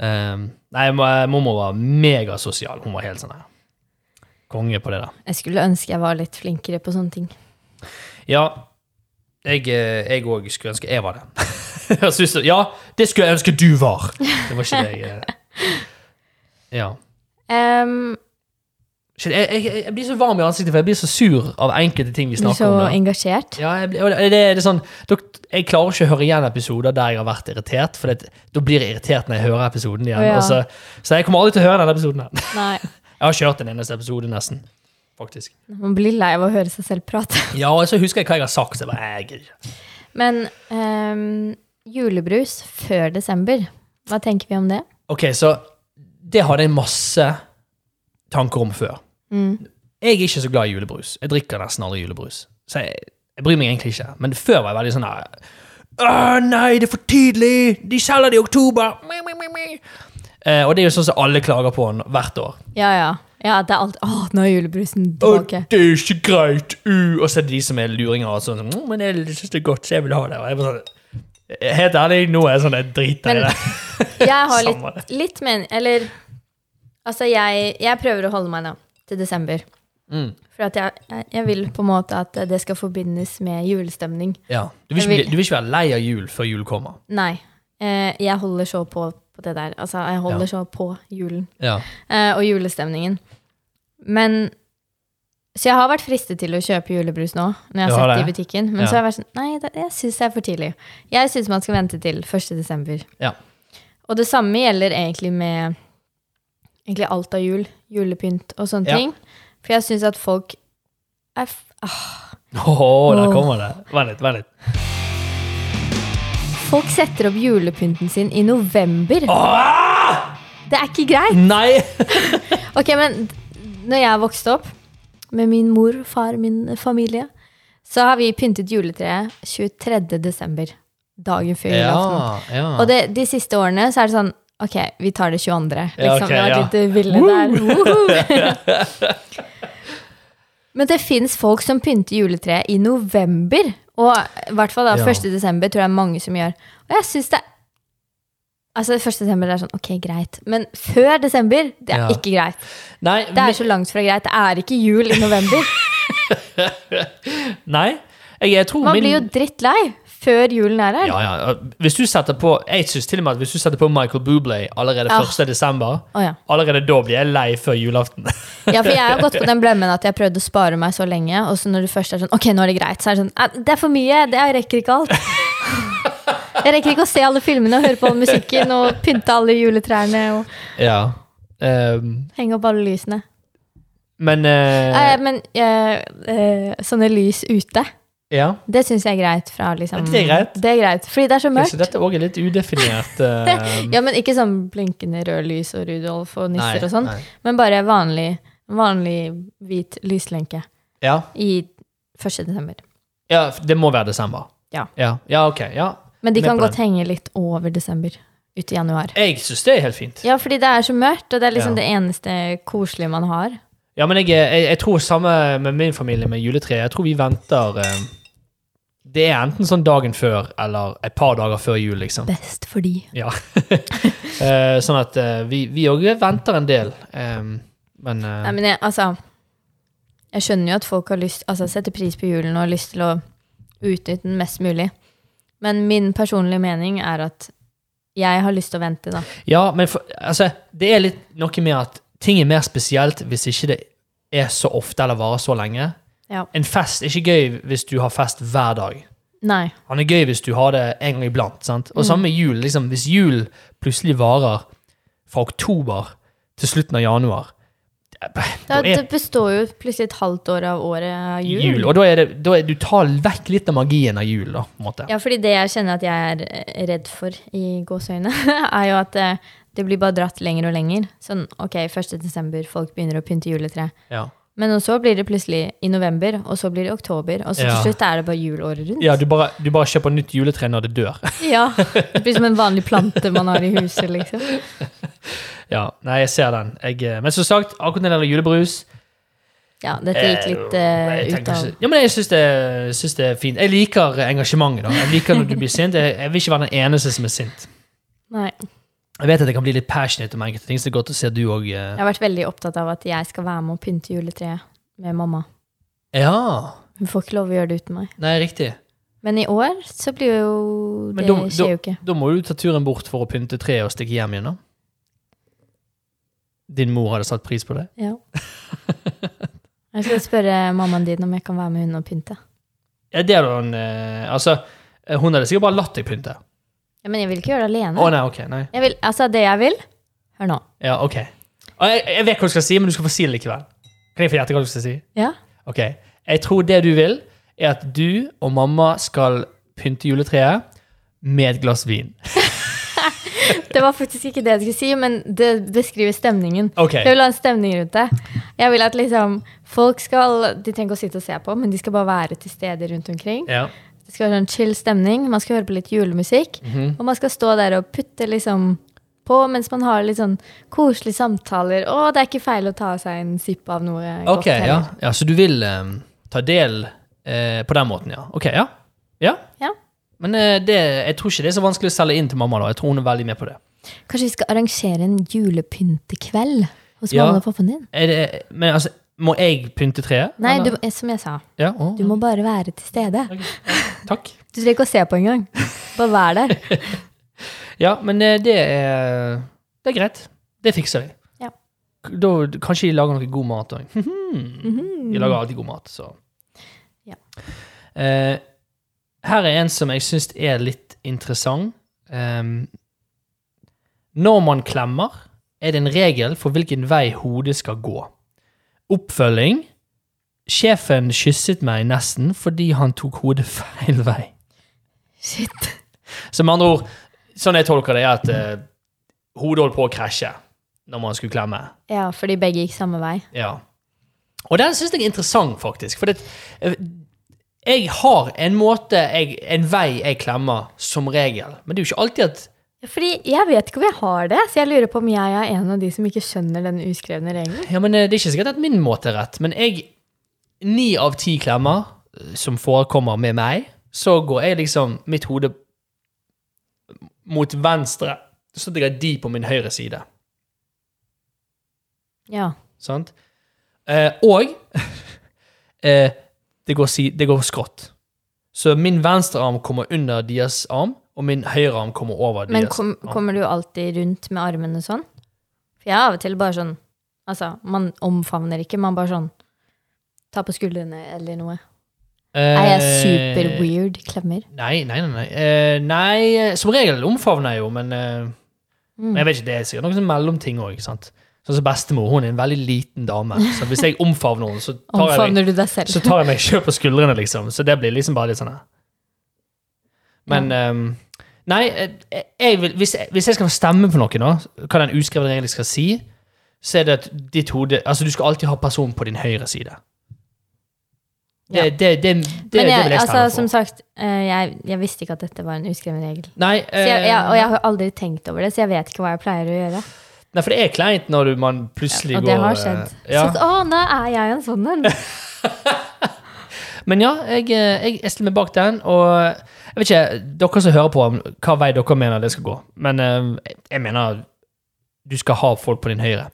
Speaker 1: Um, nei, ma- mormor var megasosial. Hun var helt sånn her. Konge på det der.
Speaker 2: Jeg skulle ønske jeg var litt flinkere på sånne ting.
Speaker 1: Ja, jeg eh, jeg òg skulle ønske jeg var det. jeg synes, det- ja, det skulle jeg ønske du var! Det var ikke det jeg eh. Ja.
Speaker 2: Ehm,
Speaker 1: Shit, jeg, jeg, jeg blir så varm i ansiktet, for jeg blir så sur av enkelte ting vi
Speaker 2: du er
Speaker 1: snakker
Speaker 2: så
Speaker 1: om. nå.
Speaker 2: engasjert.
Speaker 1: Ja, jeg, blir- og det, det er sånn dok- Jeg klarer ikke å høre igjen episoder der jeg har vært irritert, for det, da blir jeg irritert når jeg hører episoden igjen.
Speaker 2: Å, ja.
Speaker 1: og så, så jeg kommer aldri til å høre denne episoden. her.
Speaker 2: Nei.
Speaker 1: Jeg har kjørt en eneste episode, nesten. Faktisk.
Speaker 2: Man blir lei av å høre seg selv prate.
Speaker 1: Ja, og så husker jeg hva jeg har sagt. Så jeg bare, jeg, gidder ikke.
Speaker 2: Men ehm, julebrus før desember, hva tenker vi om det?
Speaker 1: ok, så det hadde jeg masse tanker om før.
Speaker 2: Mm.
Speaker 1: Jeg er ikke så glad i julebrus. Jeg drikker nesten aldri julebrus. Så jeg, jeg bryr meg egentlig ikke. Men før var jeg veldig sånn her Åh, nei, det er for tidlig! De selger det i oktober! Mi, mi, mi, mi. Eh, og det er jo sånn som alle klager på n- hvert år.
Speaker 2: Ja, ja. Ja, det er alt Å, nå er julebrusen
Speaker 1: Og
Speaker 2: tilbake.
Speaker 1: det er ikke greit! Uh. Og så er det de som er luringer og sånn. «Mm, Men jeg syns det er godt, så jeg vil ha det. Og jeg bare sånn, Helt ærlig, nå er jeg sånn jeg driter i
Speaker 2: Men-
Speaker 1: det.
Speaker 2: Jeg har
Speaker 1: Samme det.
Speaker 2: litt, litt men... Eller altså, jeg, jeg prøver å holde meg da til desember.
Speaker 1: Mm.
Speaker 2: For at jeg, jeg- jeg vil på en måte at det skal forbindes med julestemning.
Speaker 1: Ja. Du, vil
Speaker 2: Jeg
Speaker 1: ikke,
Speaker 2: vil-
Speaker 1: bli- du vil ikke være lei av jul før jul kommer.
Speaker 2: Nei. Eh, jeg holder så på på det der. Altså, jeg holder
Speaker 1: Ja.
Speaker 2: så på julen.
Speaker 1: Ja.
Speaker 2: eh, og julestemningen. Men Så jeg har vært fristet til å kjøpe julebrus nå, når jeg
Speaker 1: Du
Speaker 2: har
Speaker 1: har
Speaker 2: sett det i
Speaker 1: det?
Speaker 2: butikken. Men
Speaker 1: Ja.
Speaker 2: så har jeg vært sånn Nei, det, jeg syns det er for tidlig. Jeg syns man skal vente til 1. desember.
Speaker 1: Ja.
Speaker 2: Og det samme gjelder egentlig med egentlig alt av jul. Julepynt og sånne
Speaker 1: Ja.
Speaker 2: ting. For jeg syns at folk er f ah,
Speaker 1: Åh, der kommer det. Vent litt, vent litt.
Speaker 2: Folk setter opp julepynten sin i november.
Speaker 1: Åh!
Speaker 2: Det er ikke greit!
Speaker 1: Nei!
Speaker 2: Ok, men d- når jeg vokste opp med min mor, far, min familie, så har vi pyntet juletreet 23. desember, dagen før julaften.
Speaker 1: ja.
Speaker 2: Og det, de siste årene så er det sånn, ok, vi tar det 22. Liksom,
Speaker 1: Ja, ok,
Speaker 2: det har
Speaker 1: ja.
Speaker 2: vært litt ville der. Woohoo! men det finnes folk som pynter juletreet i november, og i hvert fall da,
Speaker 1: Ja.
Speaker 2: 1. desember tror jeg er mange som gjør. Og jeg synes det Altså, 1. desember er sånn, ok, greit. Men før desember, det er
Speaker 1: Ja.
Speaker 2: ikke greit.
Speaker 1: Nei,
Speaker 2: Det er
Speaker 1: men-
Speaker 2: så langt fra greit. Det er ikke jul i november.
Speaker 1: nei. Jeg, jeg tror
Speaker 2: Man
Speaker 1: min
Speaker 2: blir jo drittlei før julen er her.
Speaker 1: Ja, ja. Hvis du setter på jeg synes til og med at hvis du setter på Michael Bublé allerede
Speaker 2: Ja.
Speaker 1: 1. desember,
Speaker 2: Å, ja.
Speaker 1: allerede da blir jeg lei før julaften.
Speaker 2: ja, for jeg har gått på den blemmen at jeg prøvde å spare meg så lenge, og så når det først er sånn Ok, nå er det greit. Så er det sånn «Eh, Det er for mye. Det jeg rekker ikke alt. Jeg rekker ikke å se alle filmene og høre på all musikken og pynte alle juletrærne og
Speaker 1: ja. Ehm,
Speaker 2: henge opp alle lysene.
Speaker 1: men eh,
Speaker 2: Eh, men eh, eh, sånne lys ute,
Speaker 1: Ja.
Speaker 2: det syns jeg er greit fra liksom
Speaker 1: Det er greit.
Speaker 2: Det er greit, Fordi det er så
Speaker 1: Ok, så
Speaker 2: mørkt.
Speaker 1: dette òg er litt udefinert. eh,
Speaker 2: Ja, men ikke sånn blinkende rød lys og Rudolf og nisser
Speaker 1: nei,
Speaker 2: og sånn,
Speaker 1: nei.
Speaker 2: men bare vanlig, vanlig hvit lyslenke
Speaker 1: Ja.
Speaker 2: i 1. desember.
Speaker 1: ja, det må være desember.
Speaker 2: Ja.
Speaker 1: Ja, ja ok. Ja.
Speaker 2: Men de
Speaker 1: Med
Speaker 2: kan
Speaker 1: på
Speaker 2: godt henge litt over desember, ut i januar.
Speaker 1: Jeg syns det er helt fint.
Speaker 2: Ja, fordi det er så mørkt, og det er liksom
Speaker 1: Ja.
Speaker 2: det eneste koselige man har.
Speaker 1: Ja, men jeg, jeg, jeg tror samme med min familie med juletreet. Jeg tror vi venter eh, Det er enten sånn dagen før eller et par dager før jul, liksom.
Speaker 2: Best for de.
Speaker 1: Ja. Eh, sånn at eh, vi- vi òg venter en del. eh, men eh,
Speaker 2: Nei, men jeg, altså Jeg skjønner jo at folk har lyst Altså setter pris på julen og har lyst til å utnytte den mest mulig. Men min personlige mening er at jeg har lyst til å vente, da.
Speaker 1: Ja, men for, altså, det er litt noe med at ting er mer spesielt hvis ikke det er så ofte eller varer så lenge.
Speaker 2: Ja.
Speaker 1: En fest er ikke gøy hvis du har fest hver dag.
Speaker 2: Nei.
Speaker 1: Han er gøy hvis du har det en gang iblant. Sant?
Speaker 2: Mm.
Speaker 1: Og samme med jul. Liksom, hvis jul plutselig varer fra oktober til slutten av januar eh,
Speaker 2: Da,
Speaker 1: da
Speaker 2: det
Speaker 1: er
Speaker 2: består jo plutselig et halvt år av året av jul.
Speaker 1: jul, og da er det, da er, du tar vekk litt av magien av jul. Da, på en måte.
Speaker 2: Ja, fordi det jeg kjenner at jeg er eh, redd for i gåseøyne, er jo at eh, det blir bare dratt lenger og lenger. Sånn, ok, 1. desember, folk begynner å pynte juletre.
Speaker 1: Ja.
Speaker 2: Men og så blir det plutselig i november, og så blir det oktober, og så
Speaker 1: Ja.
Speaker 2: til slutt er det bare jul året rundt.
Speaker 1: Ja, du, bare, du bare kjøper nytt juletre når det dør.
Speaker 2: Ja, det blir som en vanlig plante man har i huset, liksom.
Speaker 1: ja, Nei, jeg ser den. Jeg, eh, men som sagt, akkurat når det gjelder julebrus
Speaker 2: Ja, dette gikk
Speaker 1: Eh,
Speaker 2: litt
Speaker 1: nei,
Speaker 2: eh,
Speaker 1: jeg
Speaker 2: ut
Speaker 1: tenker
Speaker 2: av
Speaker 1: ikke- Ja, men jeg syns det, syns det er fint. Jeg liker engasjementet. da. Jeg liker når du blir sint. Jeg, jeg vil ikke være den eneste som er sint.
Speaker 2: Nei,
Speaker 1: Jeg vet at jeg kan bli litt passionate om enkelte ting, så det er godt å se at du eh, òg
Speaker 2: jeg har vært veldig opptatt av at jeg skal være med og pynte juletreet med mamma.
Speaker 1: Ja.
Speaker 2: Hun får ikke lov å gjøre det uten meg.
Speaker 1: Nei, riktig.
Speaker 2: Men i år så blir jo
Speaker 1: Men
Speaker 2: Det
Speaker 1: da-
Speaker 2: skjer jo ikke.
Speaker 1: Da må du ta turen bort for å pynte treet og stikke hjem igjen, da. Din mor hadde satt pris på det?
Speaker 2: Ja. Jeg skal spørre mammaen din om jeg kan være med hun og pynte.
Speaker 1: Ja, det hadde hun eh, Altså, eh, hun hadde sikkert bare latt deg pynte.
Speaker 2: Ja, men jeg vil ikke gjøre det
Speaker 1: Å
Speaker 2: alene.
Speaker 1: nei, ok. Nei.
Speaker 2: Jeg vil, altså, det jeg vil Hør nå.
Speaker 1: Ja, ok. Og Jeg, jeg vet hva du skal si, men du skal få si det likevel. Kan jeg få gjette hva du skal si?
Speaker 2: Ja.
Speaker 1: Ok, jeg tror det du vil, er at du og mamma skal pynte juletreet med et glass vin.
Speaker 2: Det var faktisk ikke det jeg skulle si, men det beskriver stemningen.
Speaker 1: Ok,
Speaker 2: Jeg vil ha en stemning rundt det. Jeg vil at liksom folk skal De trenger ikke å sitte og se på, men de skal bare være til stede rundt omkring.
Speaker 1: ja.
Speaker 2: Det skal være en chill stemning. Man skal høre på litt julemusikk.
Speaker 1: Mhm.
Speaker 2: Og man skal stå der og putte liksom på mens man har litt sånn koselige samtaler. Å, det er ikke feil å ta seg en sipp av noe
Speaker 1: Ok,
Speaker 2: godt heller.
Speaker 1: ja. ja. Så du vil eh, ta del eh, på den måten, ja. Ok, ja. Ja.
Speaker 2: Ja.
Speaker 1: Men eh, det, jeg tror ikke det er så vanskelig å selge inn til mamma da. Jeg tror hun er veldig med på det.
Speaker 2: Kanskje vi skal arrangere en julepyntekveld hos
Speaker 1: Ja.
Speaker 2: mamma og pappaen din?
Speaker 1: Er det men altså, må jeg pynte treet?
Speaker 2: Nei,
Speaker 1: eller?
Speaker 2: du, eh, som jeg sa,
Speaker 1: Ja, å,
Speaker 2: du må bare være til stede.
Speaker 1: takk.
Speaker 2: Du trenger ikke å se på engang. Bare vær der.
Speaker 1: Ja, men eh, det er, det er greit. Det fikser de.
Speaker 2: Ja.
Speaker 1: K- Da, kanskje de lager noe god mat Hmm. òg.
Speaker 2: Mhm.
Speaker 1: De lager alltid god mat, så
Speaker 2: Ja.
Speaker 1: Eh, Her er en som jeg syns er litt interessant. Em, når man klemmer, er det en regel for hvilken vei hodet skal gå. Oppfølging. Sjefen kysset meg nesten fordi han tok hodet feil vei.
Speaker 2: Shit.
Speaker 1: Så med andre ord, sånn jeg tolker det, er at eh, hodet holdt på å krasje når man skulle klemme.
Speaker 2: Ja, fordi begge gikk samme vei.
Speaker 1: Ja. Og den syns jeg er interessant, faktisk. For det, eh, jeg har en måte, jeg, en vei jeg klemmer, som regel. Men det er jo ikke alltid at
Speaker 2: Fordi jeg vet ikke om jeg har det, så jeg lurer på om jeg er en av de som ikke skjønner den uskrevne regelen.
Speaker 1: Ja, men eh, Det er ikke sikkert at min måte er rett, men jeg Ni av ti klemmer eh, som forekommer med meg, så går jeg liksom mitt hode mot venstre, så ligger de på min høyre side.
Speaker 2: Ja.
Speaker 1: Sant? Eh, og eh, det, går si, det går skrått. Så min venstre arm kommer under deres arm, og min høyre arm kommer over
Speaker 2: Men
Speaker 1: deres
Speaker 2: kom,
Speaker 1: arm.
Speaker 2: kommer du alltid rundt med armene sånn? For jeg er av og til bare sånn Altså, man omfavner ikke, man bare sånn tar på skuldrene eller noe. Er jeg super weird klemmer?
Speaker 1: Eh, Nei, nei, nei. Nei, Eh, nei eh, som regel omfavner jeg jo, men eh,
Speaker 2: Mm.
Speaker 1: men jeg vet ikke, det er sikkert noen sånn mellomting òg. Sånn som bestemor, hun er en veldig liten dame. Så hvis jeg omfavner henne, så tar jeg meg,
Speaker 2: Omfavner du deg selv?
Speaker 1: så tar jeg meg selv på skuldrene, liksom. Så det blir liksom bare litt sånn her. Men ehm, Nei, eh, jeg vil, hvis, jeg, hvis jeg skal stemme på noe nå, hva den uskrevne regelen skal si, så er det at ditt hode Altså, du skal alltid ha personen på din høyre side. Det,
Speaker 2: Ja.
Speaker 1: det, det, det, det
Speaker 2: Men
Speaker 1: vil
Speaker 2: jeg,
Speaker 1: jeg
Speaker 2: altså,
Speaker 1: stemme på.
Speaker 2: som sagt, eh, jeg, jeg visste ikke at dette var en uskreven regel.
Speaker 1: Nei,
Speaker 2: Så jeg,
Speaker 1: eh,
Speaker 2: jeg, og jeg har aldri tenkt over det, så jeg vet ikke hva jeg pleier å gjøre.
Speaker 1: nei, for det er kleint når du, man plutselig
Speaker 2: Og
Speaker 1: går
Speaker 2: det har
Speaker 1: eh,
Speaker 2: skjedd.
Speaker 1: Ja.
Speaker 2: Så å, nå er jeg en sånn en!
Speaker 1: Men ja, jeg, eh, jeg, jeg stiller meg bak den, og jeg vet ikke, dere som hører på, hva vei dere mener det skal gå. Men eh, jeg- jeg mener du skal ha folk på din høyre.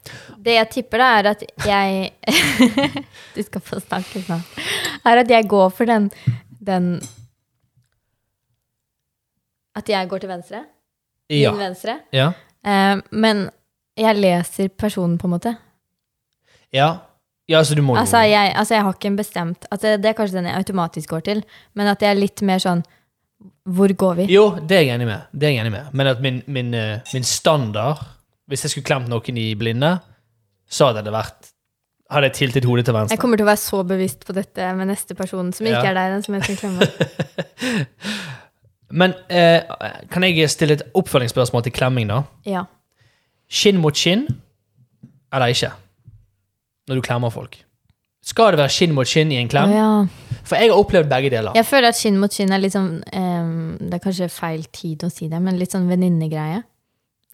Speaker 2: Det jeg tipper, da, er at jeg Du skal få snakke snart. Er at jeg går for den, den At jeg går til venstre? Min
Speaker 1: Ja.
Speaker 2: venstre?
Speaker 1: Ja.
Speaker 2: Eh, men jeg leser personen, på en måte.
Speaker 1: Ja, ja så du må jo
Speaker 2: Altså jeg, altså, jeg har ikke en bestemt altså, Det er kanskje den jeg automatisk går til, men at jeg er litt mer sånn Hvor går vi?
Speaker 1: Jo, det er jeg enig med. Det er jeg enig med. Men at min, min, eh, min standard Hvis jeg skulle klemt noen i blinde, så hadde det vært Hadde jeg tiltet hodet til venstre.
Speaker 2: Jeg kommer til å være så bevisst på dette med neste person, som ikke
Speaker 1: Ja.
Speaker 2: er deg, den som jeg skal klemme.
Speaker 1: Men eh, kan jeg stille et oppfølgingsspørsmål til klemming, da?
Speaker 2: Ja.
Speaker 1: Skinn mot skinn eller ikke? Når du klemmer folk. Skal det være skinn mot skinn i en
Speaker 2: Å,
Speaker 1: klem?
Speaker 2: ja.
Speaker 1: For jeg har opplevd begge deler.
Speaker 2: Jeg føler at skinn mot skinn er litt sånn ehm, Det er kanskje feil tid å si det, men litt sånn venninnegreie.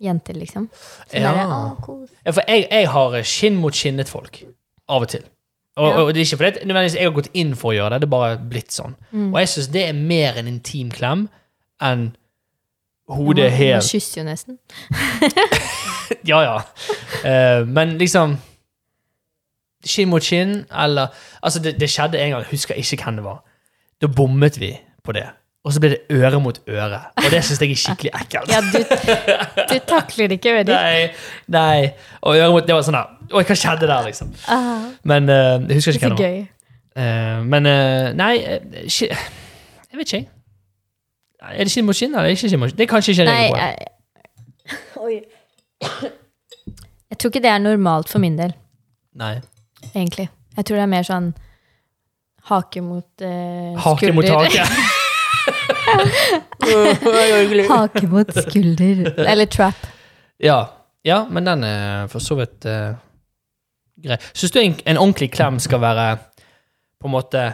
Speaker 2: Jenter, liksom. Sånn
Speaker 1: Ja.
Speaker 2: derre, «Å, kos».
Speaker 1: Ja, For jeg, jeg har skinn mot skinnet folk. Av og til. Og,
Speaker 2: Ja.
Speaker 1: og det er ikke fordi at nødvendigvis jeg har gått inn for å gjøre det, det er bare blitt sånn.
Speaker 2: Mm.
Speaker 1: Og jeg syns det er mer en intim klem enn hodet
Speaker 2: Man- Man
Speaker 1: helt
Speaker 2: kysser jo nesten.
Speaker 1: Ja, ja. Eh, men liksom Skinn mot skinn, eller Altså, det, det skjedde en gang, jeg husker ikke hvem det var. Da bommet vi på det. Og så ble det øre mot øre. Og det syns jeg er skikkelig ekkelt.
Speaker 2: Ja, du, du takler ikke ører.
Speaker 1: Nei, nei. Og øre mot Det var sånn der Oi, hva skjedde der, liksom?
Speaker 2: Ah,
Speaker 1: Men eh, jeg husker
Speaker 2: det
Speaker 1: ikke
Speaker 2: er
Speaker 1: hvem
Speaker 2: så
Speaker 1: det var.
Speaker 2: gøy.
Speaker 1: Eh, men eh, Nei, eh, ski- jeg vet ikke, jeg. Er det skinn mot skinn, eller er det ikke skinn mot skinn? Det er kanskje ikke en
Speaker 2: Nei,
Speaker 1: regel på det.
Speaker 2: jeg, jeg tror ikke det er normalt for min del,
Speaker 1: Nei.
Speaker 2: egentlig. Jeg tror det er mer sånn hake mot eh,
Speaker 1: Hake mot
Speaker 2: skulder.
Speaker 1: hake. Oi, oi, oi.
Speaker 2: hake mot skulder. Eller trap.
Speaker 1: ja. ja, men den er for så vidt eh, grei. Syns du en, en ordentlig klem skal være på en måte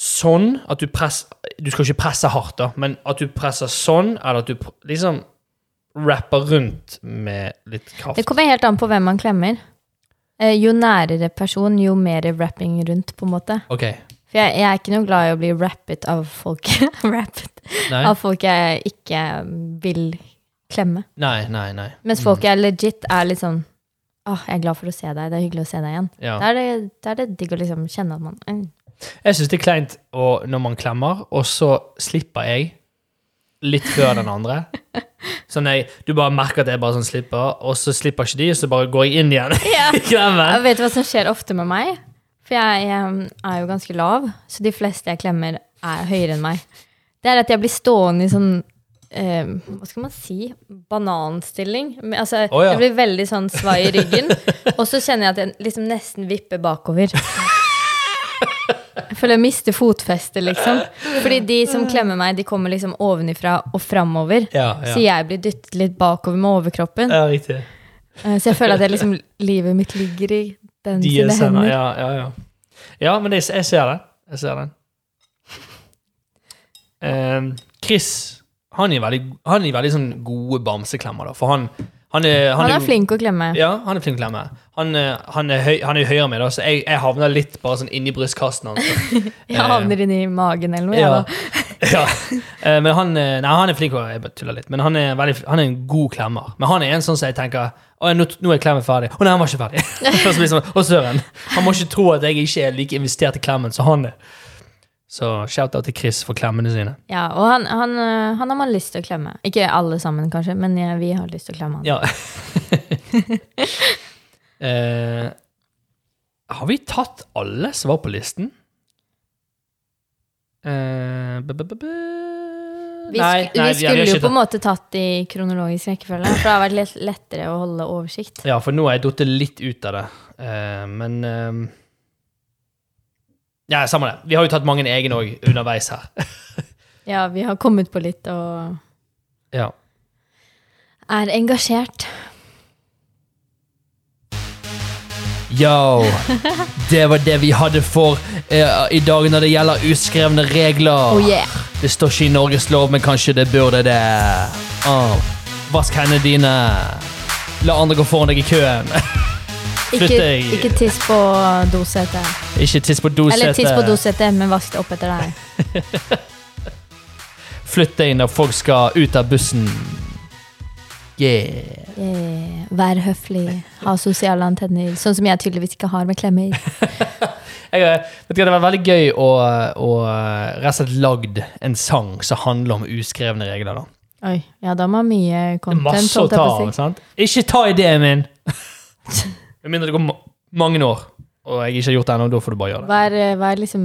Speaker 1: sånn at du presser Du skal ikke presse hardt, da, men at du presser sånn, eller at du pr- liksom rapper rundt med litt kraft?
Speaker 2: Det kommer helt an på hvem man klemmer. Eh, jo nærere person, jo mer rapping rundt, på en måte.
Speaker 1: OK.
Speaker 2: For jeg, jeg er ikke noe glad i å bli rappet av folk, rappet,
Speaker 1: Nei,
Speaker 2: av folk jeg ikke vil klemme.
Speaker 1: nei, nei. nei.
Speaker 2: Mens folk jeg legit er litt sånn Åh, jeg er glad for å se deg. Det er hyggelig å se deg igjen.
Speaker 1: Ja.
Speaker 2: Da er det, da er det digg å liksom kjenne at man mm.
Speaker 1: Jeg syns det er kleint å, når man klemmer, og så slipper jeg litt før den andre. Sånn jeg, Du bare merker at jeg bare sånn slipper, og så slipper ikke de, og så bare går jeg inn igjen i
Speaker 2: Jeg
Speaker 1: klemmen.
Speaker 2: Vet du hva som skjer ofte med meg? For jeg, jeg er jo ganske lav, så de fleste jeg klemmer, er høyere enn meg. Det er at jeg blir stående i sånn eh, Hva skal man si? Bananstilling. Men, Altså,
Speaker 1: Å, ja.
Speaker 2: Jeg blir veldig sånn svai i ryggen, og så kjenner jeg at jeg liksom nesten vipper bakover. Jeg føler jeg mister fotfestet, liksom. Fordi de som klemmer meg, de kommer liksom ovenifra og framover.
Speaker 1: Ja,
Speaker 2: Så
Speaker 1: ja.
Speaker 2: jeg blir dyttet litt bakover med overkroppen.
Speaker 1: ja riktig.
Speaker 2: Eh, Så jeg føler at jeg liksom, livet mitt ligger i den
Speaker 1: De er
Speaker 2: sine
Speaker 1: sender,
Speaker 2: hender.
Speaker 1: ja, ja, ja. ja, men jeg, jeg ser det. Jeg ser den. Ehm, Chris han gir veldig, han gir veldig sånn gode bamseklemmer, da. For han, han, er,
Speaker 2: Han er flink å klemme.
Speaker 1: Ja, han er flink til å klemme. Han, eh, han, er, høy, han er jo høyere enn meg, da, så jeg, jeg havner litt bare sånn inni brystkassen hans.
Speaker 2: Jeg havner inni magen eller noe. jeg,
Speaker 1: Ja.
Speaker 2: da.
Speaker 1: ja. Eh, Men han, eh, nei, han er flink, og jeg bare tuller litt, men han er, veldig, han er en god klemmer. Men han er en sånn som jeg tenker Å, nå, nå er klemmen ferdig. Å nei, han var ikke ferdig. og så blir det sånn, Å, søren. Han må ikke tro at jeg ikke er like investert i klemmen som han er. Så shout-out til Chris for klemmene sine.
Speaker 2: Ja, og han, han, øh, han har man lyst til å klemme. Ikke alle sammen, kanskje, men jeg, vi har lyst til å klemme han.
Speaker 1: Ja. eh, har vi tatt alle som var på listen? Eh, bu- bu- bu- bu.
Speaker 2: Vi,
Speaker 1: Nei,
Speaker 2: sk
Speaker 1: nei, ja,
Speaker 2: vi
Speaker 1: har
Speaker 2: skulle jo
Speaker 1: ikke
Speaker 2: på en
Speaker 1: tatt-
Speaker 2: måte tatt det i kronologisk rekkefølge, for det har vært litt lettere å holde oversikt.
Speaker 1: Ja, for nå har jeg datt litt ut av det. Eh, men eh, Ja, samme det. Vi har jo tatt mange egne òg underveis her.
Speaker 2: Ja, vi har kommet på litt og
Speaker 1: Ja.
Speaker 2: er engasjert.
Speaker 1: Yo! Det var det vi hadde for eh, i dag når det gjelder uskrevne regler.
Speaker 2: Oh yeah!
Speaker 1: Det står ikke i Norges lov, men kanskje det burde det. Ah. Vask hendene dine. La andre gå foran deg i køen.
Speaker 2: Ikke,
Speaker 1: deg.
Speaker 2: ikke tiss på dosetet.
Speaker 1: Ikke tiss på dosetet.
Speaker 2: Eller tiss på dosetet, men vask det opp etter deg.
Speaker 1: Eh, Flytt deg når folk skal ut av bussen. Yeah.
Speaker 2: Eh, Vær høflig, ha sosiale antenner, sånn som jeg tydeligvis ikke har med klemmer.
Speaker 1: Jeg, eh, vet du, hva, det var veldig gøy å, å eh, rett og slett lagd en sang som handler om uskrevne regler. da.
Speaker 2: Oi, ja, da må man ha
Speaker 1: Det
Speaker 2: mye
Speaker 1: er
Speaker 2: content.
Speaker 1: masse å
Speaker 2: holdt jeg
Speaker 1: ta av.
Speaker 2: på
Speaker 1: liksom.
Speaker 2: si.
Speaker 1: sant? Ikke ta ideen min! Med mindre det går ma mange år, og jeg ikke har gjort det ennå. Da får du bare gjøre det.
Speaker 2: Hva er, eh, hva er liksom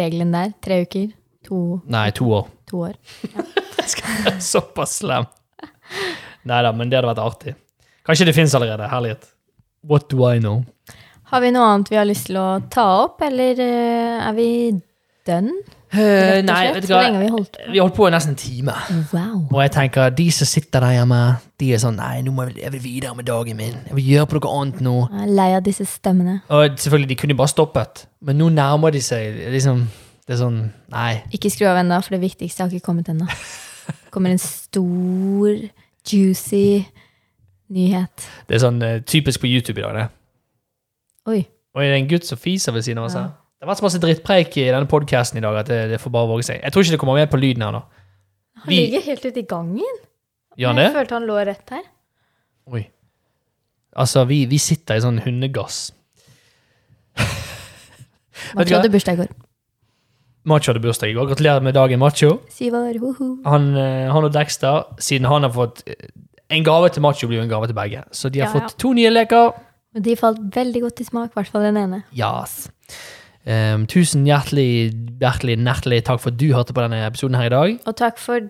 Speaker 2: regelen der? Tre uker? To,
Speaker 1: Nei, to år.
Speaker 2: to år?
Speaker 1: Såpass slem. Nei da, men det hadde vært artig. Kanskje det fins allerede. Herlighet. What do I know?
Speaker 2: Har vi noe annet vi har lyst til å ta opp, eller eh, er vi done? Rett og
Speaker 1: Eh, nei,
Speaker 2: slett?
Speaker 1: vet du
Speaker 2: Hvor lenge har
Speaker 1: hva.
Speaker 2: vi holdt på?
Speaker 1: Vi holdt på i nesten en time.
Speaker 2: Wow.
Speaker 1: Og jeg tenker, de som sitter der hjemme, de er sånn Nei, nå må jeg, jeg vil videre med dagen min. Jeg vil gjøre på noe annet nå.
Speaker 2: Jeg er lei av disse stemmene.
Speaker 1: Og selvfølgelig, de kunne jo bare stoppet. Men nå nærmer de seg liksom Det er sånn Nei.
Speaker 2: Ikke skru av ennå, for det viktigste har ikke kommet ennå. Det kommer en stor, juicy nyhet.
Speaker 1: Det er sånn eh, typisk på YouTube i dag, det.
Speaker 2: Oi.
Speaker 1: Og er det en gutt som fiser ved siden av oss her?
Speaker 2: Ja.
Speaker 1: Det har vært så masse drittpreik i denne podkasten i dag at det, det får bare våge seg. Jeg tror ikke det kommer med på lyden her nå.
Speaker 2: Han
Speaker 1: Vi-
Speaker 2: ligger helt ute i gangen.
Speaker 1: Gjør han det?
Speaker 2: Jeg følte han lå rett her.
Speaker 1: Oi. Altså, vi, vi sitter i sånn hundegass. Vet
Speaker 2: Man
Speaker 1: du hva?
Speaker 2: trodde bursdag i går.
Speaker 1: Macho hadde bursdag i går. Gratulerer med dagen, Macho.
Speaker 2: Syv år, hoho.
Speaker 1: Han, eh, han og Dexter, siden han har fått eh, En gave til Macho blir jo en gave til begge. Så de har
Speaker 2: Ja, ja.
Speaker 1: fått to nye leker.
Speaker 2: Og de falt veldig godt i smak, i hvert fall den ene.
Speaker 1: Yes. Em, tusen hjertelig, hjertelig, hjertelig takk for at du hørte på denne episoden her i dag.
Speaker 2: Og takk for,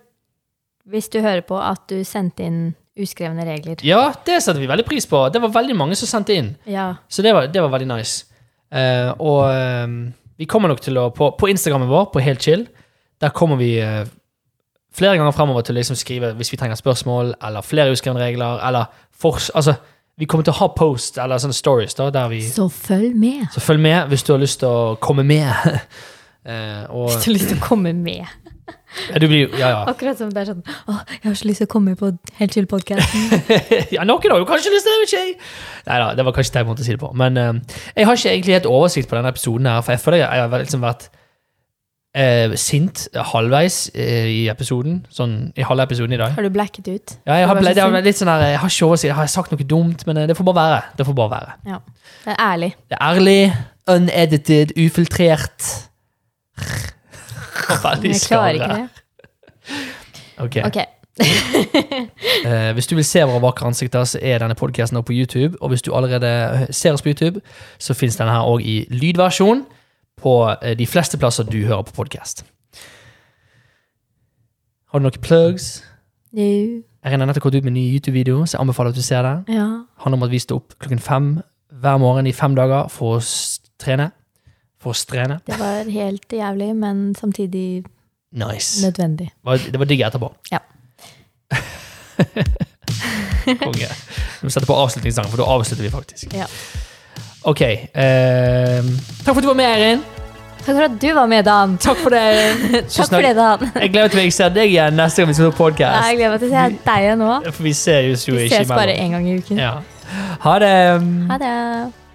Speaker 2: hvis du hører på, at du sendte inn uskrevne regler.
Speaker 1: Ja, det setter vi veldig pris på. Det var veldig mange som sendte inn.
Speaker 2: Ja.
Speaker 1: Så det var, det var veldig nice. Eh, og eh, vi kommer nok til å På, på Instagrammen vår, på Helt chill, der kommer vi eh, flere ganger fremover til å liksom skrive hvis vi trenger spørsmål, eller flere uskrevne regler, eller fors... Altså, vi kommer til å ha post, eller sånne stories, da, der vi
Speaker 2: Så følg med.
Speaker 1: Så følg med hvis du har lyst til å komme med. Eh, og
Speaker 2: Hvis du har lyst til å komme med.
Speaker 1: ja, du blir, ja, ja.
Speaker 2: Akkurat som det er sånn Å, jeg har så lyst til å komme på Helt chill podcasten
Speaker 1: ja, noen har jo kanskje lyst til det, vet ikke jeg. Nei da, det var kanskje tegn måte å si det på. Men eh, jeg har ikke egentlig helt oversikt på denne episoden her, for jeg føler jeg, jeg har liksom vært eh, sint halvveis eh, i episoden, sånn i halve episoden i dag.
Speaker 2: Har du blacket ut?
Speaker 1: Ja, jeg, har ble,
Speaker 2: Det var så
Speaker 1: det har
Speaker 2: sint.
Speaker 1: vært litt sånn her, jeg har ikke oversikt, har jeg sagt noe dumt, men eh, det får bare være. Det får bare være.
Speaker 2: Ja. Det er ærlig.
Speaker 1: Det er ærlig, unedited, ufiltrert. Veldig
Speaker 2: Jeg klarer ikke det.
Speaker 1: Ok.
Speaker 2: Ok.
Speaker 1: Eh, hvis du vil se våre vakre ansikter, så er denne podcasten også på YouTube. Og hvis du allerede ser oss på YouTube, så finnes denne her også i lydversjon på eh, de fleste plasser du hører på podcast. Har du noen plugs?
Speaker 2: Nå.
Speaker 1: Erin har nettopp kommet ut med en ny YouTube-video, så jeg anbefaler at du ser den.
Speaker 2: Ja.
Speaker 1: Det handler om at vi står opp klokken fem hver morgen i fem dager for å s- trene. For å strene.
Speaker 2: Det var helt jævlig, men samtidig
Speaker 1: Nice.
Speaker 2: nødvendig.
Speaker 1: Det var, det var digg etterpå.
Speaker 2: Ja.
Speaker 1: Konge. Vi setter på avslutningssangen, for da avslutter vi faktisk.
Speaker 2: Ja.
Speaker 1: Ok. ehm, takk for at du var med, Erin.
Speaker 2: Takk for at du var med, Dan.
Speaker 1: Takk for det. Erin. Så
Speaker 2: Takk for det,
Speaker 1: snak-
Speaker 2: Dan.
Speaker 1: Jeg gleder meg til jeg ser deg igjen neste gang vi skal på
Speaker 2: Nei, Jeg
Speaker 1: podkast.
Speaker 2: gleder meg til å se deg nå.
Speaker 1: For vi ser jo jo
Speaker 2: Vi
Speaker 1: ikke
Speaker 2: ses bare
Speaker 1: imellom.
Speaker 2: én gang i uken.
Speaker 1: Ja. Ha det.
Speaker 2: Ha det.